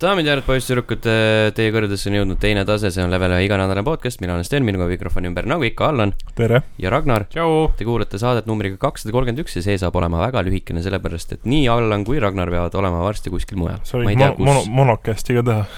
daamid ja härrad , poisssüdrukud , teie kõrgedesse on jõudnud teine tase , see on Level ühe iganädalane podcast , mina olen Sten , minuga mikrofoni ümber , nagu ikka , Allan tere . ja Ragnar . tšau . Te kuulate saadet numbriga kakssada kolmkümmend üks ja see saab olema väga lühikene , sellepärast et nii Allan kui Ragnar peavad olema varsti kuskil mujal . sa ma võid ei tea , mono- , mono- , kus . monocastiga teha .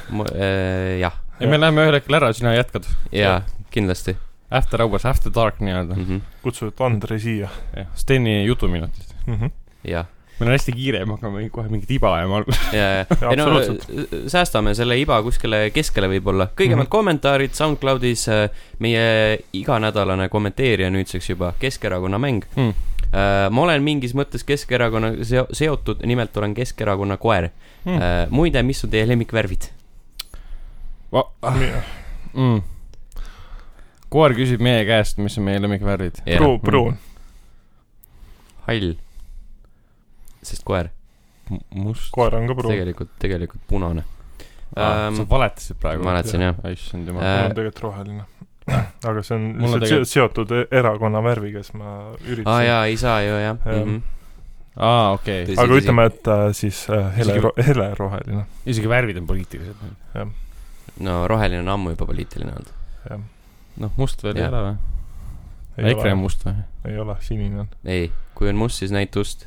jah , ja me läheme ühel hetkel ära , sina jätkad . jaa , kindlasti After hours , after dark nii-öelda . mm . -hmm. kutsud Andre siia jah , Steni jutuminutid . mm . -hmm. jah , meil on hästi kiire , me hakkame kohe mingit iba ajama alguses . ja , ja , ei no äh, absoluutselt. säästame selle iba kuskile keskele võib-olla . kõigepealt mm Mhm. -hmm. kommentaarid SoundCloudis , meie iganädalane kommenteerija nüüdseks juba , Keskerakonna mäng Mm. Äh, ma olen mingis mõttes Keskerakonna seo- seotud , nimelt olen Keskerakonna koer Mm. mm. . muide , mis on teie lemmikvärvid ? äh, ah, mm. . koer küsib meie käest , mis on meie lemmikvärvid . noh, Mm. pruun , mm. pruun . hall . sest koer , must . koer on ka pruun . tegelikult , tegelikult punane . Ähm, sa valetasid praegu . mäletasin jah . issand mul Äh, jumal . on tegelikult roheline . aga see on Mul on lihtsalt tegelikult- tegelikult... seotud e- erakonna värviga , siis ma aa üritasin . jaa , ei saa ju jah mm . Jah. -hmm. aa , okei okay. . tõsi, aga tõsi. ütleme , et äh, siis äh, hele Isegi- , heleroheline . isegi värvid on poliitilised . no roheline on ammu juba poliitiline olnud . noh , must veel ei Jah. ole või ? EKRE on . must või ? ei ole , sinine on . ei , kui on must , siis näita ust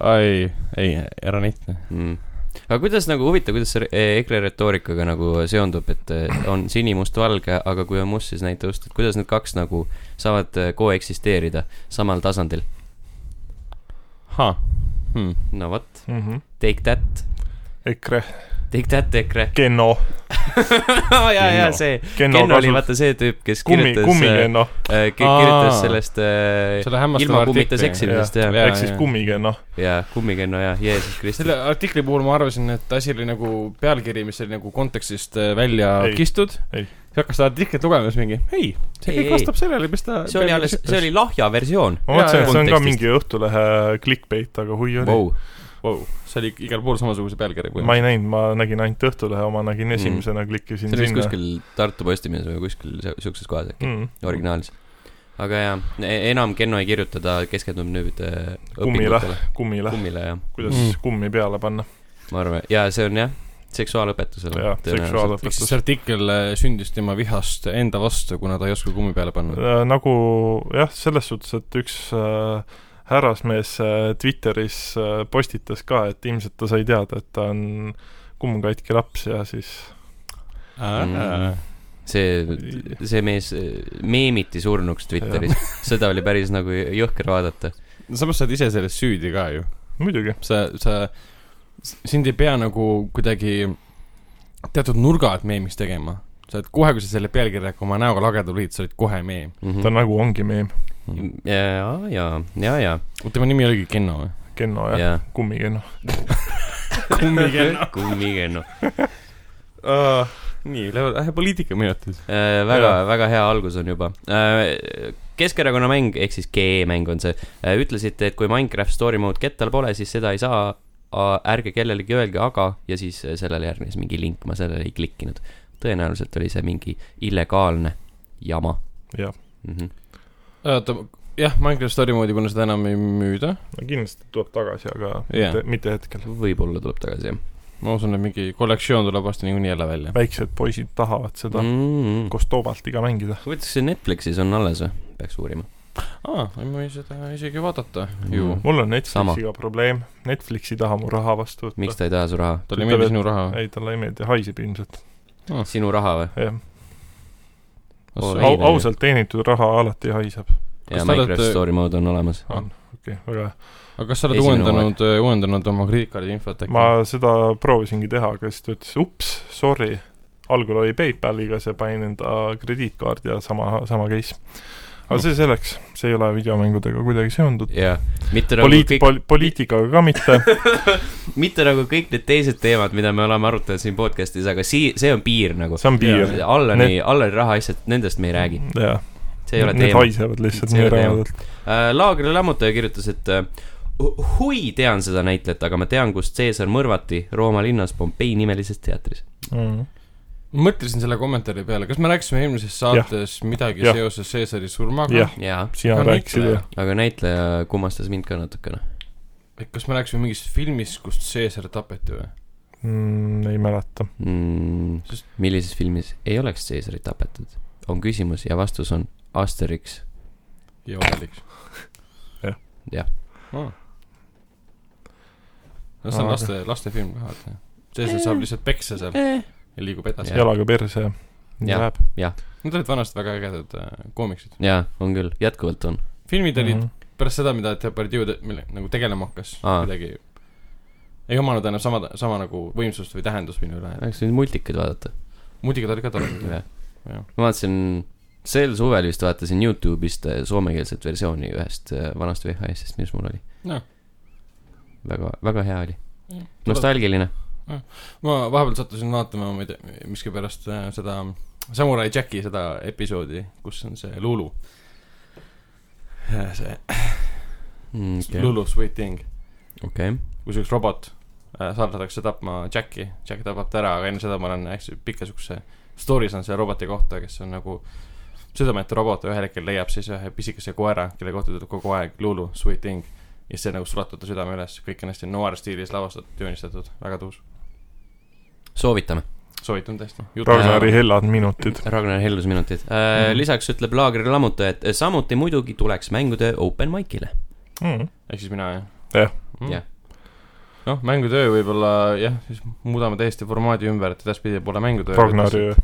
ai , ei , ära näita . mm. . aga kuidas nagu huvitav , kuidas see re- EKRE retoorikaga nagu seondub , et eh, on sinimustvalge , aga kui on must , siis näita ust , et kuidas need kaks nagu saavad eh, koeksisteerida samal tasandil ? ahah hmm. . no vot , Mm -hmm. take that , EKRE , take that EKRE . Genno , ja , ja Kenno. Ah, see , Genno Ken oli kasut- , vaata see tüüp , kes kummi , kirjutas , äh, kummigenno , kirjutas Aa. sellest eh, selle hämmastava ilma kummita artikli- seksimisest Jah. ja , Jah. ehk siis jaa. kummigenno . ja kummikenno ja Jeesus Kristus selle . artikli puhul ma arvasin , et asi oli nagu pealkiri , mis oli nagu kontekstist äh, välja Ei. ei. kistud . Ei. sa hakkasid seda artiklit lugema , siis mingi ei , see Ei, kõik ei. vastab sellele , mis ta . see oli alles , see oli lahja versioon . ma mõtlesin , jaa. et see on ka Kontekstist. mingi Õhtulehe clickbait , aga hui oli Vau , wow. . see oli igal pool samasuguse pealkiri . ma ei näinud , ma nägin ainult Õhtulehe oma , nägin esimesena mm. , klikkisin see oli vist sinna . kuskil Tartu Postimehes või kuskil se- siukses kohas äkki , mm. originaalis . aga jaa , enam Kenno ei kirjuta , ta keskendub nüüd äh, Kummile. õpingutele , kummile , kummile jah , kuidas Mm. mm. kummi peale panna ma arvan , ja see on jah , seksuaalõpetusele . ja eks siis seksuaalõpetus see . artikkel äh, sündis tema vihast enda vastu , kuna ta ei osanud kummi peale panna . nagu jah , selles suhtes , et üks äh, härrasmees äh, Twitteris äh, postitas ka , et ilmselt ta sai teada , et ta on kummkatki laps ja siis Mm. see , see mees äh, meemiti surnuks Twitteris , seda oli päris nagu jõhker vaadata . samas sa oled ise selles süüdi ka ju . muidugi , sa , sa , sind ei pea nagu kuidagi teatud nurgad meemiks tegema . sa oled kohe , kui sa selle pealkirjaga oma näoga lageda tulid , sa olid kohe meem . Mhm. Mm. ta nagu ongi meem , ja , ja , ja , ja , tema nimi oligi Kenno või ? Kenno jah ja. , ja . kummikenno kummikenno. . kummikenno . uh, . Äh, nii , läheb lähe poliitikaminutid . Äh, väga , väga hea algus on juba . Keskerakonna mäng ehk siis GE mäng on see . ütlesite , et kui Minecraft story mode kettal pole , siis seda ei saa . ärge kellelegi öelge aga ja siis äh, sellele järgnes mingi link , ma sellele ei klikkinud . tõenäoliselt oli see mingi illegaalne jama . Jah. mm . -hmm. oota , jah , Minecraft Story moodi , kuna seda enam ei müüda . no, . kindlasti tuleb tagasi , aga Jaa. yeah. mitte, mitte hetkel . võib-olla tuleb tagasi jah ma usun , et mingi kollektsioon tuleb varsti niikuinii jälle välja . väiksed poisid tahavad seda mm. mm . -hmm. koos Toobaltiga mängida . kuidas see Netflixis on alles või ? peaks uurima . aa , ma võin seda isegi vaadata Mm. ju . mul on Sama. Netflixiga probleem , Netflix ei taha mu raha vastu võtta miks . ta ei taha su raha ? talle ei meeldi sinu raha ah, või ? ei , talle ei meeldi , haiseb ilmselt . sinu raha või ? jah , Au- ei Ei, Au, ei, , ausalt teenitud raha alati haiseb . ja Kas te olete- Minecraft story mode on olemas . on , okei okay, , väga hea . aga kas sa oled Esimene uuendanud , uuendanud oma krediitkaardi infot äkki ? ma seda proovisingi teha , aga siis ta ütles ups , sorry . algul oli PayPaliga , see panin enda krediitkaardi ja sama , sama case . aga see selleks , see ei ole videomängudega kuidagi seonduv . jah , mitte nagu poliit- kõik , pol, , poliitikaga ka mitte . mitte nagu kõik need teised teemad , mida me oleme arutanud siin podcast'is , aga sii- , see on piir nagu . see on piir . Allani , Allani rahaasjad , nendest me ei räägi , jah , see ei ole need teema . haisevad lihtsalt See ei nii ole teema. rängalt . Laagri lammutaja kirjutas , et äh, "Hu- hui , tean seda näitlejat , aga ma tean , kus Caesar mõrvati Rooma linnas Pompei nimelises teatris . Mm, ma mõtlesin selle kommentaari peale , kas me rääkisime eelmises saates ja. midagi ja. Jah. seoses Caesari surmaga jah , jaa , sina No nii, rääkisid tore. jah . aga näitleja kummastas mind ka natukene . või kas me rääkisime mingist filmist , kus Caesar tapeti või ? mm, . ei mäleta . mm, Sest- . millises filmis ei oleks Caesarit tapetud ? on küsimus ja vastus on Asterix . ja Obelix . Jah. Jah. no see on Aga- laste , lastefilm ka , vaata . Caesar saab lihtsalt peksa seal ja liigub edasi . Jah. jalaga perse ja nii Jah. läheb . Need olid vanasti väga ägedad äh, koomiksid . jaa , on küll , jätkuvalt on . filmid olid Mhm. mm -hmm. pärast seda , mida Depardieu te- mille- nagu tegelema hakkas Aa. kuidagi ei omanud enam sama , sama nagu võimsust või tähendust minu üle . oleks võinud multikaid vaadata . muidugi ta oli ka tore . ma vaatasin , sel suvel vist vaatasin Youtube'ist äh, soomekeelset versiooni ühest äh, vanast VHS-ist , mis mul oli . Jah. väga , väga hea oli . nostalgiline . ma vahepeal sattusin vaatama , ma ei tea , miskipärast äh, seda Samurai Jacki seda episoodi , kus on see Lulu . see okei , Lulu Sweet Thing , okei , kus üks robot äh, saadetakse tapma Jacki , Jack tapab ta ära , aga enne seda ma olen hästi pika siukse story's on selle roboti kohta , kes on nagu südametu robot ja ühel hetkel leiab siis ühe pisikese koera , kelle kohta tuleb kogu aeg Lulu Sweet Thing . ja siis see nagu sulatab ta südame üles , kõik on hästi noir stiilis lavastatud , joonistatud , väga tuus , soovitame . soovitan tõesti . Ragnari hellad minutid . Ragnar Hellus minutid Mhm. äh, . lisaks ütleb laagri lammutaja , et äh, samuti muidugi tuleks mängutöö open mic'ile . Mm. ehk siis mina jah Jah. mm. Jah. noh , mängutöö võib-olla jah , siis muudame täiesti formaadi ümber , et edaspidi pole mängutöö . Ragnari .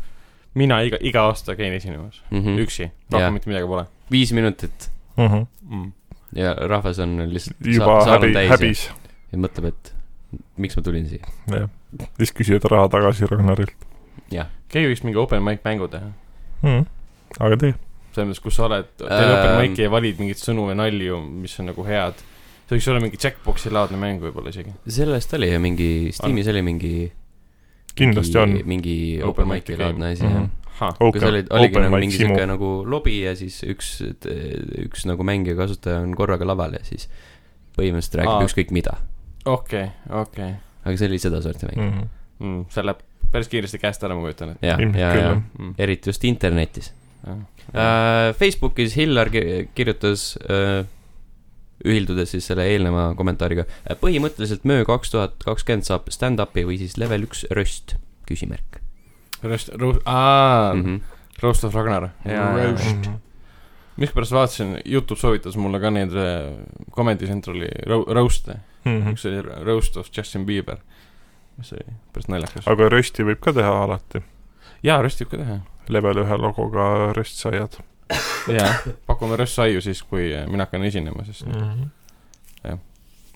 mina iga , iga aasta käin esinemas mm. , üksi , Jah. rohkem mitte midagi pole Mhm. viis minutit mm -hmm. mm. . ja rahvas on lihtsalt juba saal on häbi , täis ja- häbis . ja mõtleb , et miks ma tulin siia . jah , siis küsivad raha tagasi Ragnarilt keegi võiks mingi open mic mängu teha , mm. . aga tee , selles mõttes , kus sa oled , teed open Ähm. mic'i ja valid mingeid sõnu ja nalju , mis on nagu head . see võiks olla mingi Jackboxi laadne mäng võib-olla isegi . sellest oli ju mingi , Steamis oli mingi . kindlasti on . mingi Open open mic'i mic'i game. laadne asi Mhm. jah . kus Open olid , oligi open nagu mic mingi simu siuke . nagu lobi ja siis üks , üks nagu mängija kasutaja on korraga laval ja siis põhimõtteliselt räägib Aa. ükskõik mida . okei , okei , aga see oli sedasorti Mm, mäng . Mhm. see läheb päris kiiresti käest ära , ma kujutan Mm, ja , Ilmselt ja , küll, ja jah. ette . eriti just internetis . Äh, Facebookis Hillar ki- kirjutas äh, ühildudes siis selle eelneva kommentaariga . põhimõtteliselt möö kaks tuhat kakskümmend saab stand-up'i või siis level üks röst , küsimärk Roast , roast , aa , mm . -hmm. Roast of Ragnar . Roast. miskipärast vaatasin , Youtube soovitas mulle ka neid äh, Comedy Centrali ro- , roast'e . Mhm. üks oli ro- Roast of Justin Bieber , mis oli päris naljakas . aga rösti võib ka teha alati . jaa , roast'i võib ka teha . level ühe logoga röstsaiad jaa , pakume roast-saiu siis , kui äh, mina hakkan esinema , siis mm. Mhm. mm .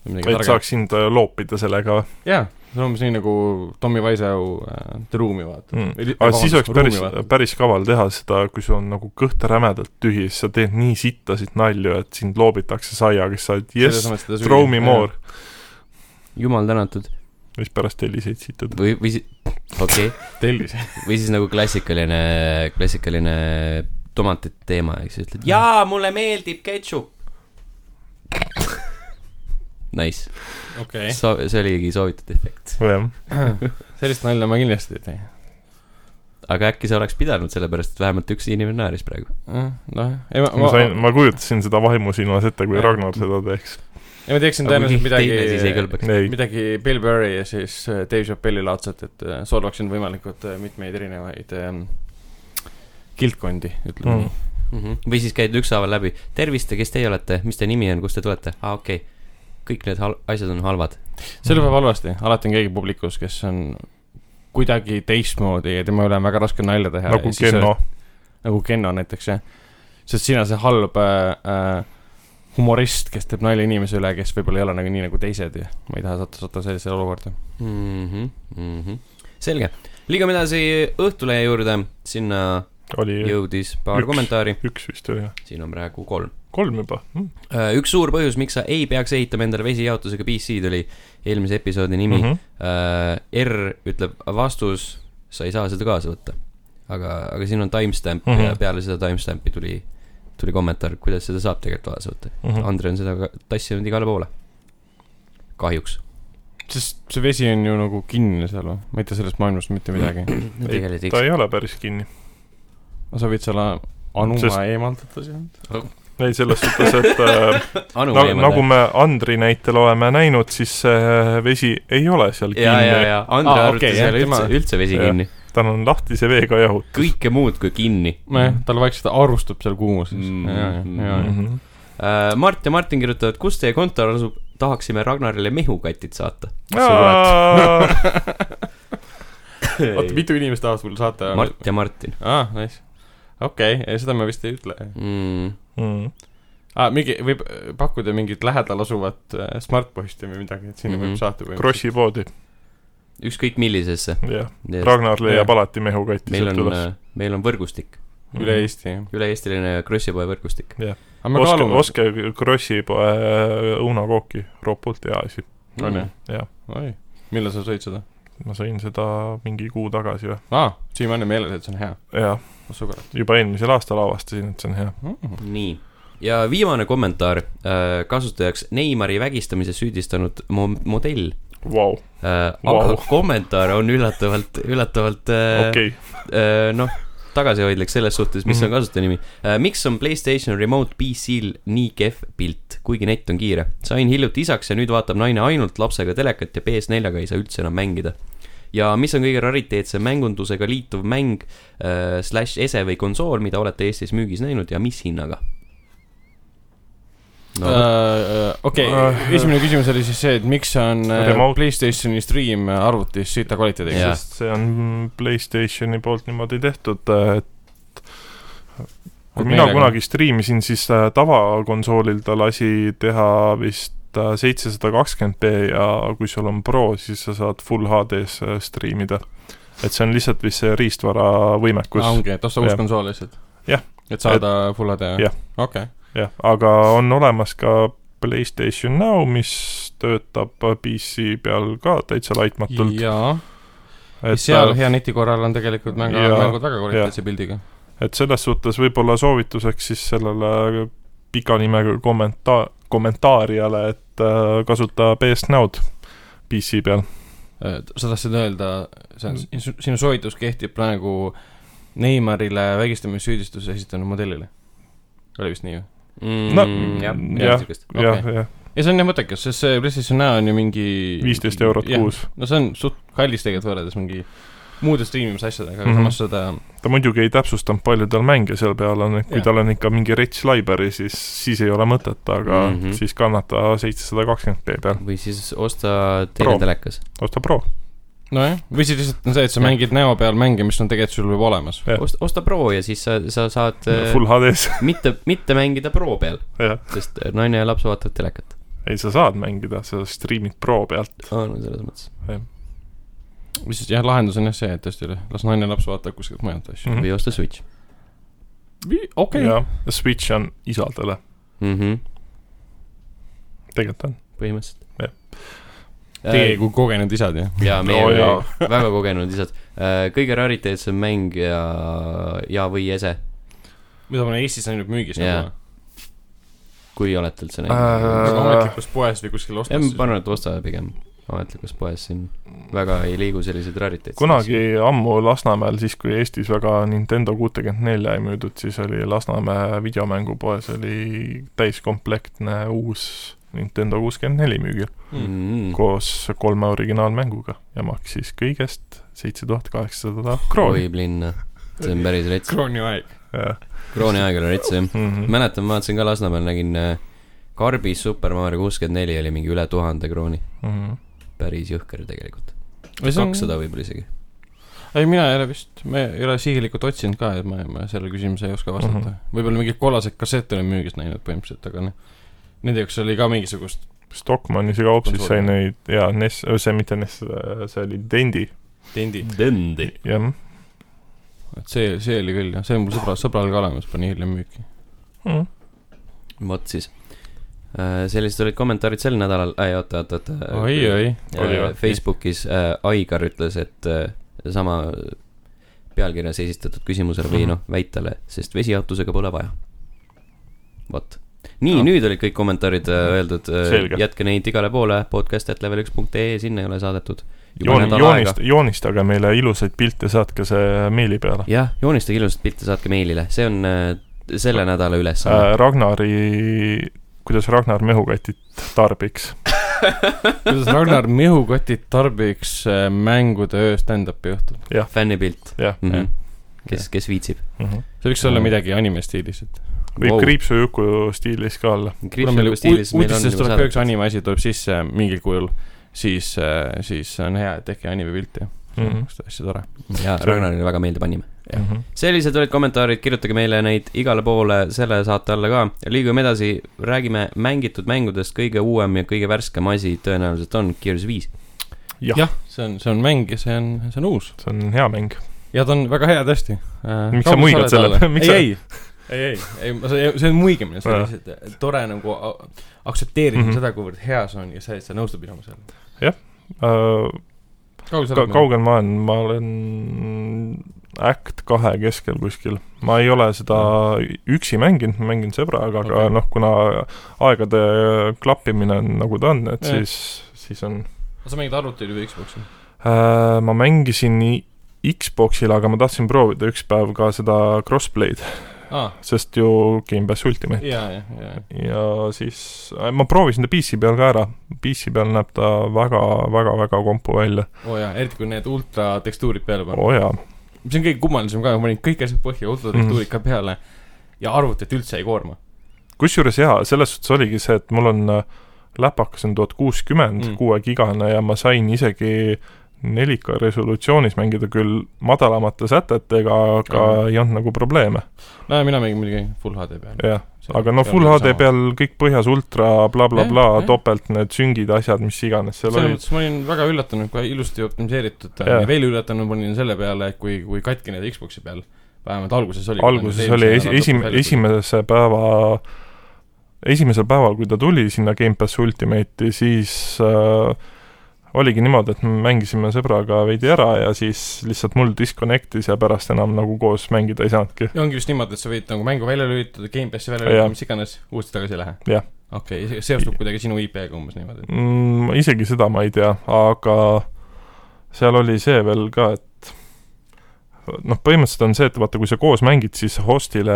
midagi -hmm. et targemat . saaks sind äh, loopida sellega jaa , see on umbes nii nagu Tommy Wiseau äh, The Room'i vaata mm. . Või li- aga vabandust, siis oleks päris ruumi vaata. , päris kaval teha seda , kui sul on nagu kõht rämedalt tühi , siis sa teed nii sittasid nalju , et sind loobitakse saiaga , siis sa oled Selles jess , mõttes ta süüa- throw me more . jumal tänatud ja siis pärast telliseid sitad . või , või si- , okei okay. , jaa, tellis . või siis nagu klassikaline , klassikaline tomatite teema , eks ju , ütled jaa , mulle meeldib ketšup . Nice , okei so- , see oligi soovitud efekt . jah , sellist nalja ma kindlasti ei tee . aga äkki sa oleks pidanud , sellepärast et vähemalt üks inimene naeris praegu . noh , ei ma , ma ma , sain , ma kujutasin seda vaimusilmas ette , kui Jah. Ragnar seda teeks . ei ma teeksin aga kui tõenäoliselt keegi midagi teine siis ei kõlbaks . ei , midagi Bill Burry ja siis äh, Dave Chappelli laadset , et äh, solvaksin võimalikult äh, mitmeid erinevaid ähm, kildkondi , ütleme Mm. mm. nii . mm . -hmm. või siis käid ükshaaval läbi , tervist ja kes teie olete , mis teie nimi on , kust te tulete , aa okei okay. . kõik need hal- , asjad on halvad . see lõpeb halvasti , alati on keegi publikus , kes on kuidagi teistmoodi ja tema üle on väga raske nalja teha . nagu Kenno . nagu Kenno näiteks jah , sest sina see halb äh, äh, humorist , kes teeb nalja inimese üle , kes võib-olla ei ole nagu nii nagu teised ja ma ei taha sattuda sattu sellisesse olukorda . Mhm, selge , liigume edasi Õhtulehe juurde , sinna oli jõudis paar Üks. kommentaari , üks vist oli , jah . siin siin on praegu kolm . kolm juba mm. . üks suur põhjus , miks sa ei peaks ehitama endale vesijaotusega PC-d oli eelmise episoodi nimi mm . Mm -hmm. -hmm. R ütleb vastus , sa ei saa seda kaasa võtta . aga , aga siin on timestamp mm Mhm. -hmm. ja peale seda timestampi tuli , tuli kommentaar , kuidas seda saab tegelikult kaasa võtta . mm -hmm. Andre on seda ka- tassinud igale poole . kahjuks . sest see vesi on ju nagu kinni seal või , ma ei tea sellest maailmast mitte midagi . tegelikult ta eks . ei ole päris kinni . no sa võid selle anuma Sest- Sest... eemaldada sealt . ei , selles suhtes , et äh, Anu na, nagu eemaldab . me Andri näitel oleme näinud , siis see vesi ei ole seal ja , ja , kinni . ja Andre Aa, ah, okei, arvutas jah, seal okay, üldse tema- , üldse vesi jah. kinni . tal on lahtise veega jahutus . kõike muud kui kinni . nojah , tal vaikselt arvustub seal kuumuses Mm. mm. . ja , ja , Mhm. Äh, Mart ja Martin kirjutavad , kus teie kontor asub , tahaksime Ragnarile mehukatid saata . Aa, ja . oota , mitu inimest tahavad mulle saata ? Mart ja Martin aa , Ah, nice . okei okay, , seda me vist ei ütle . mm. . mm. aa , mingi , võib äh, pakkuda mingit lähedal asuvat äh, Smartposti või midagi , et sinna mm Mhm. -hmm. võib saata või . Krossi poodi , ükskõik millisesse . jah . Ragnar leiab Jah. alati mehukati meil sealt on äh, üles ., meil on võrgustik , üle Eesti , Ah, jah . üle-eestiline krossipoe võrgustik . aga me oska , kaalume . oska Krossi poe õunakooki , äh, ropult hea asi . on Mm, jah ? jah , oi , millal sa sõid seda ? Ah, ma sõin seda mingi kuu tagasi või , aa , siiamaani meeles , et see on hea . Oh, jah , ma sugan . juba eelmisel aastal avastasin , et see on hea . Mm. nii , ja viimane kommentaar äh, kasutajaks Neimari vägistamises süüdistanud mo- , modell . Vau , Äh, Vau. aga kommentaar on üllatavalt , üllatavalt äh, okei , äh, noh , tagasihoidlik selles suhtes , mis mm -hmm. Mhm. on kasutajanimi äh, . miks on Playstation Remote PC-l nii kehv pilt , kuigi net on kiire ? sain hiljuti isaks ja nüüd vaatab naine ainult lapsega telekat ja PS4-ga ei saa üldse enam mängida . ja mis on kõige rariteetsem mängundusega liituv mäng äh, , slaš ese või konsool , mida olete Eestis müügis näinud ja mis hinnaga ? no okei , Äh, esimene küsimus oli siis see , et miks on äh, Remote- Playstationi stream arvutis sita kvaliteediga Jah. . sest see on Playstationi poolt niimoodi tehtud , et kui Et mina meile- kunagi striimisin , siis äh, tavakonsoolil ta lasi teha vist äh, seitsesada kakskümmend B ja kui sul on Pro , siis sa saad full HD-s äh, striimida . et see on lihtsalt vist see riistvara kus võimekus ah, . ongi , et osta uus Jah. konsool lihtsalt ? Jah. et saada et... full HD ? jah. okei , jah , aga on olemas ka Playstation Now , mis töötab PC peal ka täitsa laitmatult . jaa . seal et , äh, hea neti korral on tegelikult mängu , Jaa. mängud väga kvaliteetse pildiga . et selles suhtes võib-olla soovituseks siis sellele pika nimega kommenta- , kommentaarijale , et äh, kasuta PS Now'd PC peal . sa tahtsid öelda , see Mm. on , sinu soovitus kehtib praegu Neimarile vägistamissüüdistuse esitanud modellile ? oli vist nii või ? mm, no, jah , jah. jah , sihukest . Okei. jah , jah , ja see on nii mõttekas , sest see PlayStation näo on ju mingi viisteist eurot Jah. kuus . no see on suht kallis tegelikult võrreldes mingi muude striimimise asjadega , aga mm Mhm. -hmm. samas seda ta muidugi ei täpsustanud , palju tal mänge seal peal on , et kui Jah. tal on ikka mingi rich library , siis , siis ei ole mõtet , aga mm Mhm. -hmm. siis kannata seitsesada kakskümmend B peal . või siis osta Pro. teine telekas . osta Pro . nojah , või siis lihtsalt on see , et sa Jah. mängid näo peal mänge , mis on tegelikult sul juba olemas . Jah. osta , osta Pro ja siis sa , sa saad äh, Full HD-s , mitte , mitte mängida Pro peal , jah . sest äh, naine ja laps vaatavad telekat . ei , sa saad mängida , sa striimid Pro pealt . aa , no selles mõttes või siis jah , lahendus on jah see , et tõesti las naine ja laps vaatab kuskilt mujalt asju Mhm. mm. . või osta Switch mm. . okei okay. , jah , Switch on isadele , mm . -hmm. tegelikult on . Jah. põhimõtteliselt . teie kui kogenud isad jah . ja meie No no, Oh, jaa. väga kogenud isad . kõige rariteetsem mäng ja , ja või ese , mida ma olen Eestis näinud müügis Jah. yeah. . kui olete üldse Äh, näinud . nagu ametlikus poes või kuskil jah , ma ostas . arvan , et osta pigem ametlikus poes siin , väga ei liigu selliseid rariteetseid . kunagi ammu Lasnamäel , siis kui Eestis väga Nintendo kuutekümmet nelja ei müüdud , siis oli Lasnamäe videomängupoes oli täiskomplektne uus Nintendo kuuskümmend neli müügil Hmm. mm. . koos kolme originaalmänguga ja maksis kõigest seitse tuhat kaheksasada krooni . oi , linna , see on päris rets , krooni aeg . krooni aeg oli rets jah . Mm -hmm. mäletan , ma vaatasin ka Lasnamäel nägin äh, karbis Super Mario kuuskümmend neli oli mingi üle tuhande krooni , mm -hmm. päris jõhker tegelikult , kakssada . võib-olla isegi . ei , mina ei ole vist , ma ei ole sihilikult otsinud ka , et ma , ma sellele küsimusele ei oska vastata mm Mhm. -hmm. . võib-olla mingeid kollaseid kassette olen müügis näinud põhimõtteliselt , aga noh , nende jaoks oli ka mingisugust Stockmannis ja Kaupsis sai Konsool. neid ja NES , see mitte NES , see oli Dendi , tendi . Dendi . jah et see , see oli küll jah , see on mul sõbra , sõbral ka olemas , pani hiljem müüki . mm. . vot siis . sellised olid kommentaarid sel nädalal , ei oota , oota , oota . oi , oi . oli või? Facebookis äh, Aigar ütles , et äh, sama pealkirjas esitatud küsimusele või noh , väitele , sest vesijaotusega pole vaja . vot . nii No. no. , nüüd olid kõik kommentaarid äh, öeldud Selge. , jätke neid igale poole , podcast.level1.ee , sinna ei ole saadetud . joon , joonist , joonistage meile ilusaid pilte , saatke see meili peale . jah , joonistage ilusat pilti , saatke meilile , see on äh, selle nädala ülesanne . äh, Ragnari , kuidas Ragnar mehukatit tarbiks . kuidas Ragnar mihukotid tarbiks äh, mängude öö stand-up'i õhtul . fännipilt jah mm . Jah. -hmm. kes , kes viitsib . mm -hmm. . see võiks olla midagi anime stiilis , et . võib wow. . kriipsujuku stiilis ka olla . kuule , meil nagu nagu stiilis meil on uudistes juba tuleb ka üks saadud . anime asi tuleb sisse mingil kujul , siis , siis on hea , et tehke anime pilti . see on Mhm. üks asja tore . jaa , Ragnarile väga meeldib anime . Jah. sellised olid kommentaarid , kirjutage meile neid igale poole selle saate alla ka . liigume edasi , räägime mängitud mängudest , kõige uuem ja kõige värskem asi tõenäoliselt on Gears viis . jah , jah , see on , see on mäng ja see on , see on uus see on hea mäng . ja ta on väga hea tõesti . Äh, Miks sa muigad selle peale? Miks ei , sa- ei , ei , ei , ei , see see on muigamine , see on Jaa. lihtsalt tore nagu a- aktsepteerida mm Mhm. -hmm. seda , kuivõrd hea see on ja see , et sa nõustud minuga seal . kaugel sa Äh, Ka- , oled ? kaugel ma olen , ma olen Act kahe keskel kuskil . ma ei ole seda üksi mänginud , ma mängin sõbraga , aga Okei. noh , kuna aegade klappimine on nagu ta on , et Jah. siis , siis on sa mängid arvutili või Xbox'i ? äh, . ma mängisin i- Xboxil , aga ma tahtsin proovida üks päev ka seda crossplay'd , aa , sest ju Gamepassi Ultimate . jaa , jaa , jaa . ja siis äh, ma proovisin ta PC peal ka ära . PC peal näeb ta väga , väga , väga kompu välja . oo Oh jaa , eriti kui need ultra tekstuurid peale panna . oo jaa , mis on kõige kummalisem ka , ma panin kõik asjad põhja , Mhm. ultratektuurid ka peale ja arvutit üldse ei koorma . kusjuures jaa , selles suhtes oligi see , et mul on äh, läpakas on tuhat kuuskümmend Mm. , kuuekigane ja ma sain isegi 4K resolutsioonis mängida küll madalamate sätetega , aga Aa. ei olnud nagu probleeme , no ja mina mängin muidugi full HD peal . jah . aga no Full HD . peal kõik põhjas ultra blablabla bla, , Jah, bla, jah. topelt need süngid , asjad , mis iganes seal selles olid . mõttes ma olin väga üllatunud , kui ilusti optimiseeritud ta on Jaa. ja veel üllatunud ma olin selle peale , kui , kui katki need Xbox'i peal , vähemalt alguses oli . alguses oli esi- , esim- , esimese päeva , esimesel päeval , kui ta tuli sinna Gamepass Ultimate'i , siis äh, oligi niimoodi , et me mängisime sõbraga veidi ära ja siis lihtsalt mul disconnect'is ja pärast enam nagu koos mängida ei saanudki . ja ongi just niimoodi , et sa võid nagu mängu välja lülitada , Gamepassi välja Jaa. lülitada , mis iganes , uuesti tagasi ei lähe Jah. . okei okay, , seostub kuidagi sinu IP-ga umbes niimoodi . mm, . isegi seda ma ei tea , aga seal oli see veel ka , et noh , põhimõtteliselt on see , et vaata , kui sa koos mängid , siis host'ile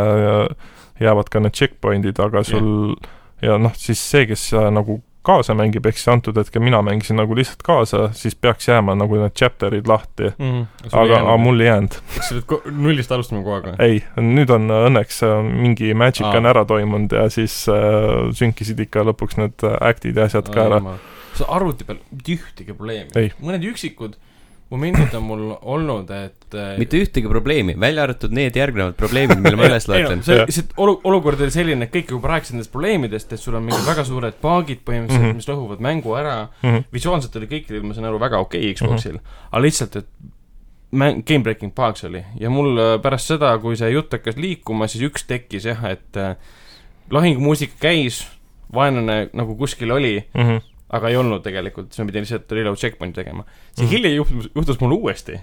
jäävad ka need checkpoint'id , aga sul yeah. ja noh , siis see , kes äh, nagu kaasa mängib , ehk siis antud hetkel mina mängisin nagu lihtsalt kaasa , siis peaks jääma nagu need chapter'id lahti . Mhm. aga , aga . mul ei jäänud . kas sa pead ko- nullist alustama kogu aeg või ? ei , nüüd on äh, õnneks äh, mingi magic Aa. on ära toimunud ja siis äh, sünkisid ikka lõpuks need äh, act'id ja asjad ka ära . see arvuti peal mitte ühtegi probleemi Ei. . mõned üksikud momendid on mul olnud , et äh, mitte ühtegi probleemi , välja arvatud need järgnevad probleemid , mille ma üles ei no loetlen . see Jah. lihtsalt olu- , olukord oli selline , et kõik juba rääkisid nendest probleemidest , et sul on mingid väga suured paagid põhimõtteliselt mm , Mhm. -hmm. mis lõhuvad mängu ära , Mm -hmm. visuaalselt oli kõikidel , ma saan aru , väga okei Mhm. okay Xboxil mm , -hmm. aga lihtsalt , et mäng , game breaking bugs oli ja mul äh, pärast seda , kui see jutt hakkas liikuma , siis üks tekkis jah , et äh, lahingumuusika käis , vaenlane nagu kuskil oli , Mm -hmm. aga ei olnud tegelikult , siis ma pidin lihtsalt reload checkpoint'i tegema . see Mhm. mm. hilja juhtus , juhtus mul uuesti .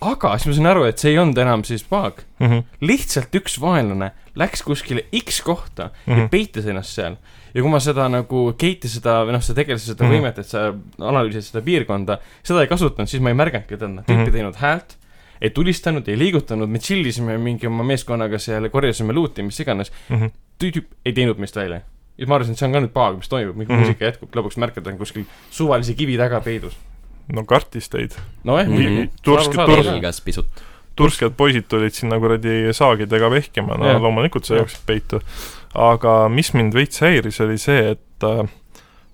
aga siis ma sain aru , et see ei olnud enam siis bug , Mm -hmm. lihtsalt üks vaenlane läks kuskile X kohta mm. Mhm. ja peitis ennast seal . ja kui ma seda nagu gate'i seda või noh , seda tegelase seda Mhm. mm. võimet , et sa analüüsid seda piirkonda , seda ei kasutanud , siis ma ei märganudki , et on tüüpi Mhm. teinud häält , ei tulistanud , ei liigutanud , me tšillisime mingi oma meeskonnaga seal ja korjasime luuti , mis iganes , Mm -hmm. tüüp ei teinud meist välja . ja ma arvasin , et see on ka nüüd paag , mis toimub , mingi mm Mhm. -hmm. muusika jätkub , lõpuks märkad , on kuskil suvalise kivi taga peidus . no kartis teid nojah Mhm. mm -hmm. , tursk , Arusaadav. tursk , Jaa. pelgas pisut . tursked poisid tulid sinna kuradi saagidega vehkima , no Jah. loomulikult sa Jah. jooksid peitu . aga mis mind veits häiris , oli see , et äh,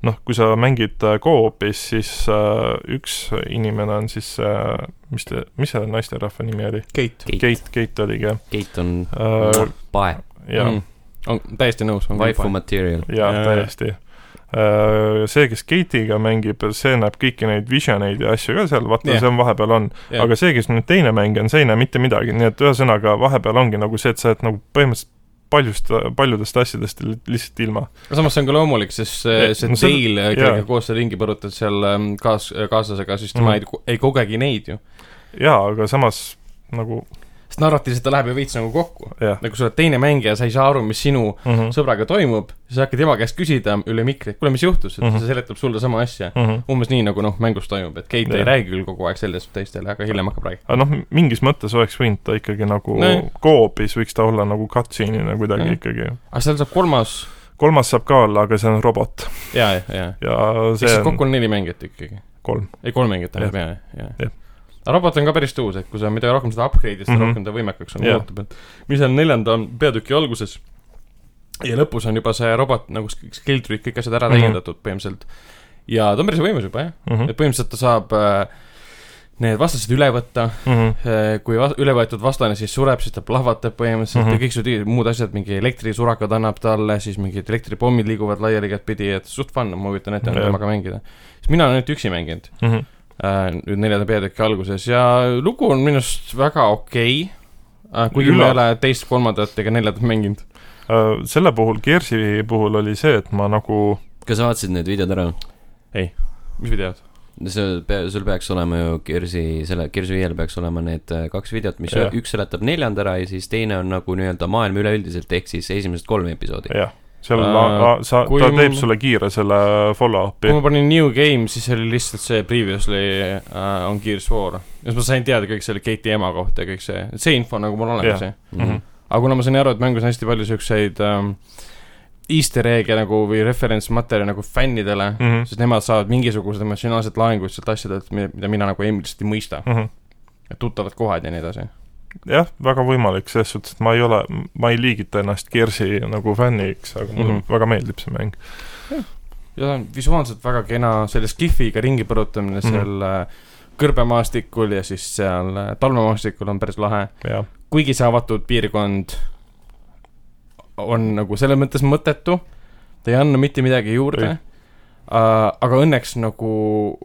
noh , kui sa mängid äh, co-op'is , siis äh, üks inimene on siis äh, , mis , mis selle naisterahva nimi oli ? Keit . Keit , Keit , Keit oligi jah Keit on äh, . pae , jah , on täiesti nõus , on waifu vaifu . material . jaa Mm. Jaa, , täiesti . see , kes Keitiga mängib , see näeb kõiki neid visioneid ja asju ka seal , vaata Jah. see on vahepeal on . Jah. aga see , kes nüüd teine mängija on , see ei näe mitte midagi , nii et ühesõnaga vahepeal ongi nagu see , et sa oled nagu põhimõtteliselt paljust , paljudest asjadest li- lihtsalt ilma . aga samas see on ka loomulik , sest see , Ja, see no no, see- teil , jaa. kellega koos sa ringi põrutad seal ähm, kaas , kaaslasega , siis Mhm. tema mm. ei, ko- ei kogegi neid ju . jaa , aga samas nagu sest narratiivselt ta läheb ju veits nagu kokku . jah . nagu sa oled teine mängija , sa ei saa aru , mis sinu Mhm. sõbraga toimub , siis hakkad tema käest küsida üle mikri , et kuule , mis juhtus , et Mhm. see seletab sulle sama asja . aga umbes nii , nagu noh , mängus toimub , et Keit ei Jah. räägi küll kogu aeg sellest teistele , aga hiljem hakkab rääkima . noh , mingis mõttes oleks võinud ta ikkagi nagu Nojah. koopis , võiks ta olla nagu cutscene'ina kuidagi Jah. ikkagi . aga seal saab kolmas kolmas saab ka olla , aga see on robot ja , ja , ja . ja ehk see siis kokku on on neli mängijat ikkagi . kolm . ei , kolm mängijat Jah. tähendab ja , ja, ja. Jah. . aga robot on ka päris tõus , et kui sa , mida rohkem seda upgrade'id , seda mm Mhm. -hmm. rohkem ta võimekaks on Jah. muutub , et mis on neljanda peatüki alguses ja lõpus on juba see robot nagu sk- skill tree , kõik asjad ära Mhm. täiendatud mm -hmm. põhimõtteliselt . ja ta on päris võimas juba jah , et põhimõtteliselt ta saab äh, need vastased üle võtta , Mhm. Eh, kui vas- üle võetud vastane siis sureb , siis ta plahvatab põhimõtteliselt mm Mhm. -hmm. ja kõik siuksed muud asjad , mingi elektrisurakad annab talle , siis mingid elektripommid liiguvad laiali igatpidi , et suht fun , ma kujutan ette , on Jah. temaga mängida . sest mina olen ainult üksi mänginud . Mhm. äh, nüüd neljanda peatüki alguses ja lugu on minu arust väga okei okay, . kuigi ma ei Üllav. ole teist , kolmandat ega neljandat mänginud . Äh, selle puhul , Gearsi puhul oli see , et ma nagu kas sa vaatasid need videod ära ? mis videod ? see , sul peaks olema ju Kirsi , selle , Kirsi viiel peaks olema need äh, kaks videot , mis Jah. üks seletab neljanda ära ja siis teine on nagu nii-öelda maailm üleüldiselt , ehk siis esimesed kolm episoodi . jah , seal Äh, uh, sa , kui ta mul- teeb sulle kiire selle follow-up'i kui ma panin New Game , siis oli lihtsalt see Previously uh, on Gears War . ja siis ma sain teada kõik selle Keiti ema kohta ja kõik see , see info nagu mul olemas Jah. yeah. , Mhm. aga kuna ma sain aru , et mängus on hästi palju siukseid um, Easter egg'e nagu või referentsmaterjali nagu fännidele mm , Mhm. -hmm. sest nemad saavad mingisugused emotsionaalsed laengud sealt asjadelt , mida mina nagu ilmselt ei mõista . tuttavad kohad ja nii edasi . Mhm. jah , väga võimalik , selles suhtes , et ma ei ole , ma ei liigita ennast Gearsi nagu fänniks , aga mulle mm Mhm. -hmm. väga meeldib see mäng . ja ta on visuaalselt väga kena , selle skihviga ringi põrutamine Mhm. mm. seal äh, kõrbemaastikul ja siis seal äh, talvemaastikul on päris lahe . jah , kuigi see avatud piirkond on nagu selles mõttes mõttetu , ta ei anna mitte midagi juurde Ei. äh, . aga õnneks nagu ,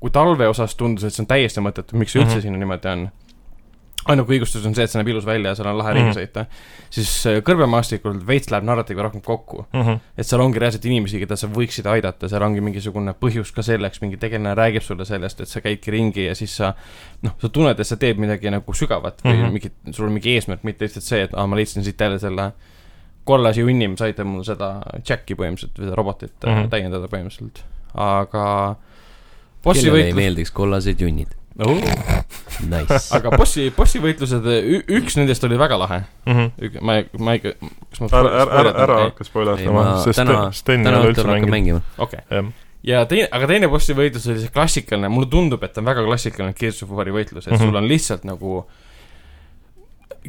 kui talve osas tundus , et see on täiesti mõttetu , miks see üldse mm Mhm. -hmm. sinna niimoodi on ainuke õigustus on see , et see näeb ilus välja ja seal on lahe Mhm. ringi sõita , siis äh, kõrbemaastikul veits läheb narratiivi rohkem kokku . Mhm. et seal ongi reaalselt inimesi , keda sa võiksid aidata , seal ongi mingisugune põhjus ka selleks , mingi tegelane räägib sulle sellest , et sa käidki ringi ja siis sa noh , sa tunned , et sa teed midagi nagu sügavat või mm Mhm. -hmm. mingit , sul on mingi eesmärk , mitte lihtsalt see , et aa , ma leidsin siit jälle selle kollase junni , mis aitab mul seda Jacki põhimõtteliselt või seda robotit mm Mhm. -hmm. täiendada põhimõtteliselt , aga bossi kellele ei võitlus , meeldiks kollased junnid ? Nice . aga bossi , bossi võitlused , üks nendest oli väga lahe , ma ei , ma ei , kas ma Mhm. ära , ära , ära , ära hakka okei ei , ma spoilerdama , sest täna Sten- , Sten ei täna ole õhtul üldse hakkan mängima . mänginud . okay. . jah , ja teine , aga teine bossi võitlus oli see klassikaline , mulle tundub , et ta on väga klassikaline Gears of War'i võitlus , et mm Mhm. -hmm. sul on lihtsalt nagu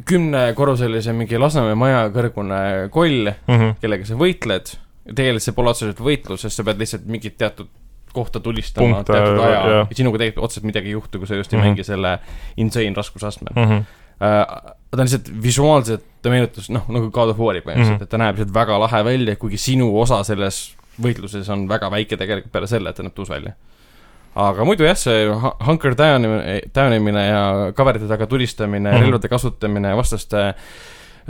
kümnekorruselise mingi Lasnamäe maja kõrgune koll , Mhm. kellega sa võitled , tegelikult see pole otseselt võitlus , sest sa pead lihtsalt mingit teatud kohta tulistama Punkte, Punkte, teatud aja jah. yeah. , et sinuga tegelikult otseselt midagi ei juhtu , kui sa just ei mm Mhm. -hmm. mängi selle insane raskusastmel mm . -hmm. ta on lihtsalt visuaalselt , ta meenutas noh , nagu God of War'i põhimõtteliselt mm , Mhm. -hmm. et ta näeb lihtsalt väga lahe välja , kuigi sinu osa selles võitluses on väga väike tegelikult peale selle , et ta näeb tuus välja . aga muidu jah , see hu- hunker down , down imine ja kaverite taga tulistamine mm , Mhm. -hmm. relvade kasutamine , vastaste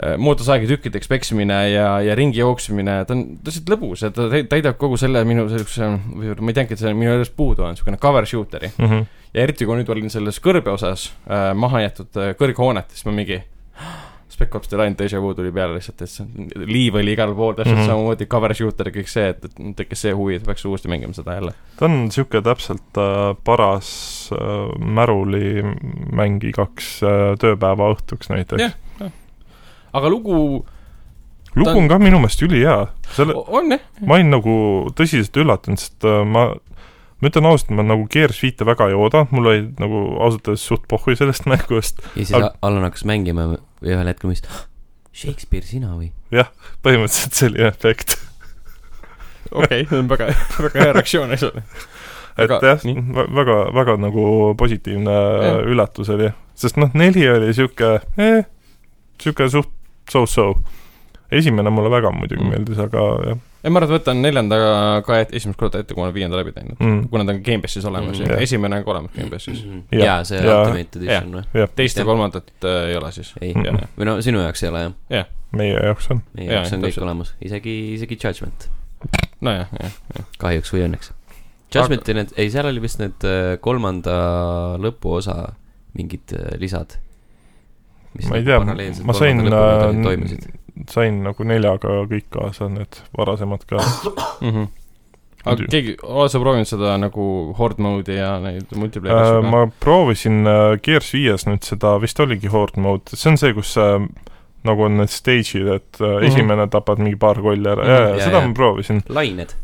äh, mootorsaagi tükkideks peksimine ja , ja ringi jooksmine , ta on lihtsalt lõbus ja ta täi- täidab kogu selle minu sellise , ma ei teagi , et see minu juures puudu on , niisugune cover shooter'i . Mhm. ja eriti , kui ma nüüd olin selles kõrbe osas äh, maha jäetud äh, kõrghoonetes , ma mingi Spec Ops The Line Deja Vu tuli peale lihtsalt , et see liiv oli igal pool täpselt mm Mhm. -hmm. samamoodi , cover shooter ja kõik see , et , et tekkis see huvi , et peaks uuesti mängima seda jälle . ta on niisugune täpselt äh, paras äh, märulimäng igaks äh, tööpäeva õhtuks Jah. näiteks . aga lugu lugu ta- on ka minu meelest ülihea , selle , o- on jah , ma olin nagu tõsiselt üllatunud , sest äh, ma , ma ütlen ausalt , ma nagu Gears viite väga ei oodanud , mul oli nagu ausalt öeldes suht pohhui sellest mängust , ja siis Aga- Allan hakkas mängima ja ühel hetkel mõtlesin , Shakespeare , sina või ? põhimõtteliselt selline efekt . okei , see on väga , väga hea reaktsioon , eks ole . et Aga- jah nii. , väga , väga nagu positiivne Jah. üllatus oli , sest noh , neli oli sihuke eh, , sihuke suht so-so . esimene mulle väga muidugi Mm. meeldis , aga jah ei , ma arvan , et võtan neljanda ka et- esimest korda ette , kui ma olen viienda läbi teinud . mm, . kuna ta on Gamepassis olemas Mhm. mm, , Jah. esimene on ka olemas Gamepassis . Jah. jaa , see Jaa. Ultimate Edition või ? teist ja Jah. kolmandat äh, ei ole siis . ei Mhm. , või no sinu jaoks ei ole jah , meie jaoks on . meie Jaa, jaoks on kõik täpselt. olemas , isegi , isegi Judgment , nojah , jah . kahjuks või õnneks . Judgmenti need , ei seal oli vist need äh, kolmanda lõpuosa mingid äh, lisad , mis ma ei nagu tea, paralleelselt ma sain kolmanda lõpuni toimusid äh, , sain nagu neljaga kõik kaasa , need varasemad ka . mm . -hmm. aga Muidu. keegi , oled sa proovinud seda nagu horde mode'i ja neid multiplayer asju Äh, ka ? ma proovisin äh, Gears viies nüüd seda , vist oligi horde mode , see on see , kus äh, nagu on need stage'id , et äh, mm Mhm. -hmm. esimene tapad mingi paar kolli ära Mhm, mm , -hmm. jaa, ja seda jaa. ma proovisin , lained ,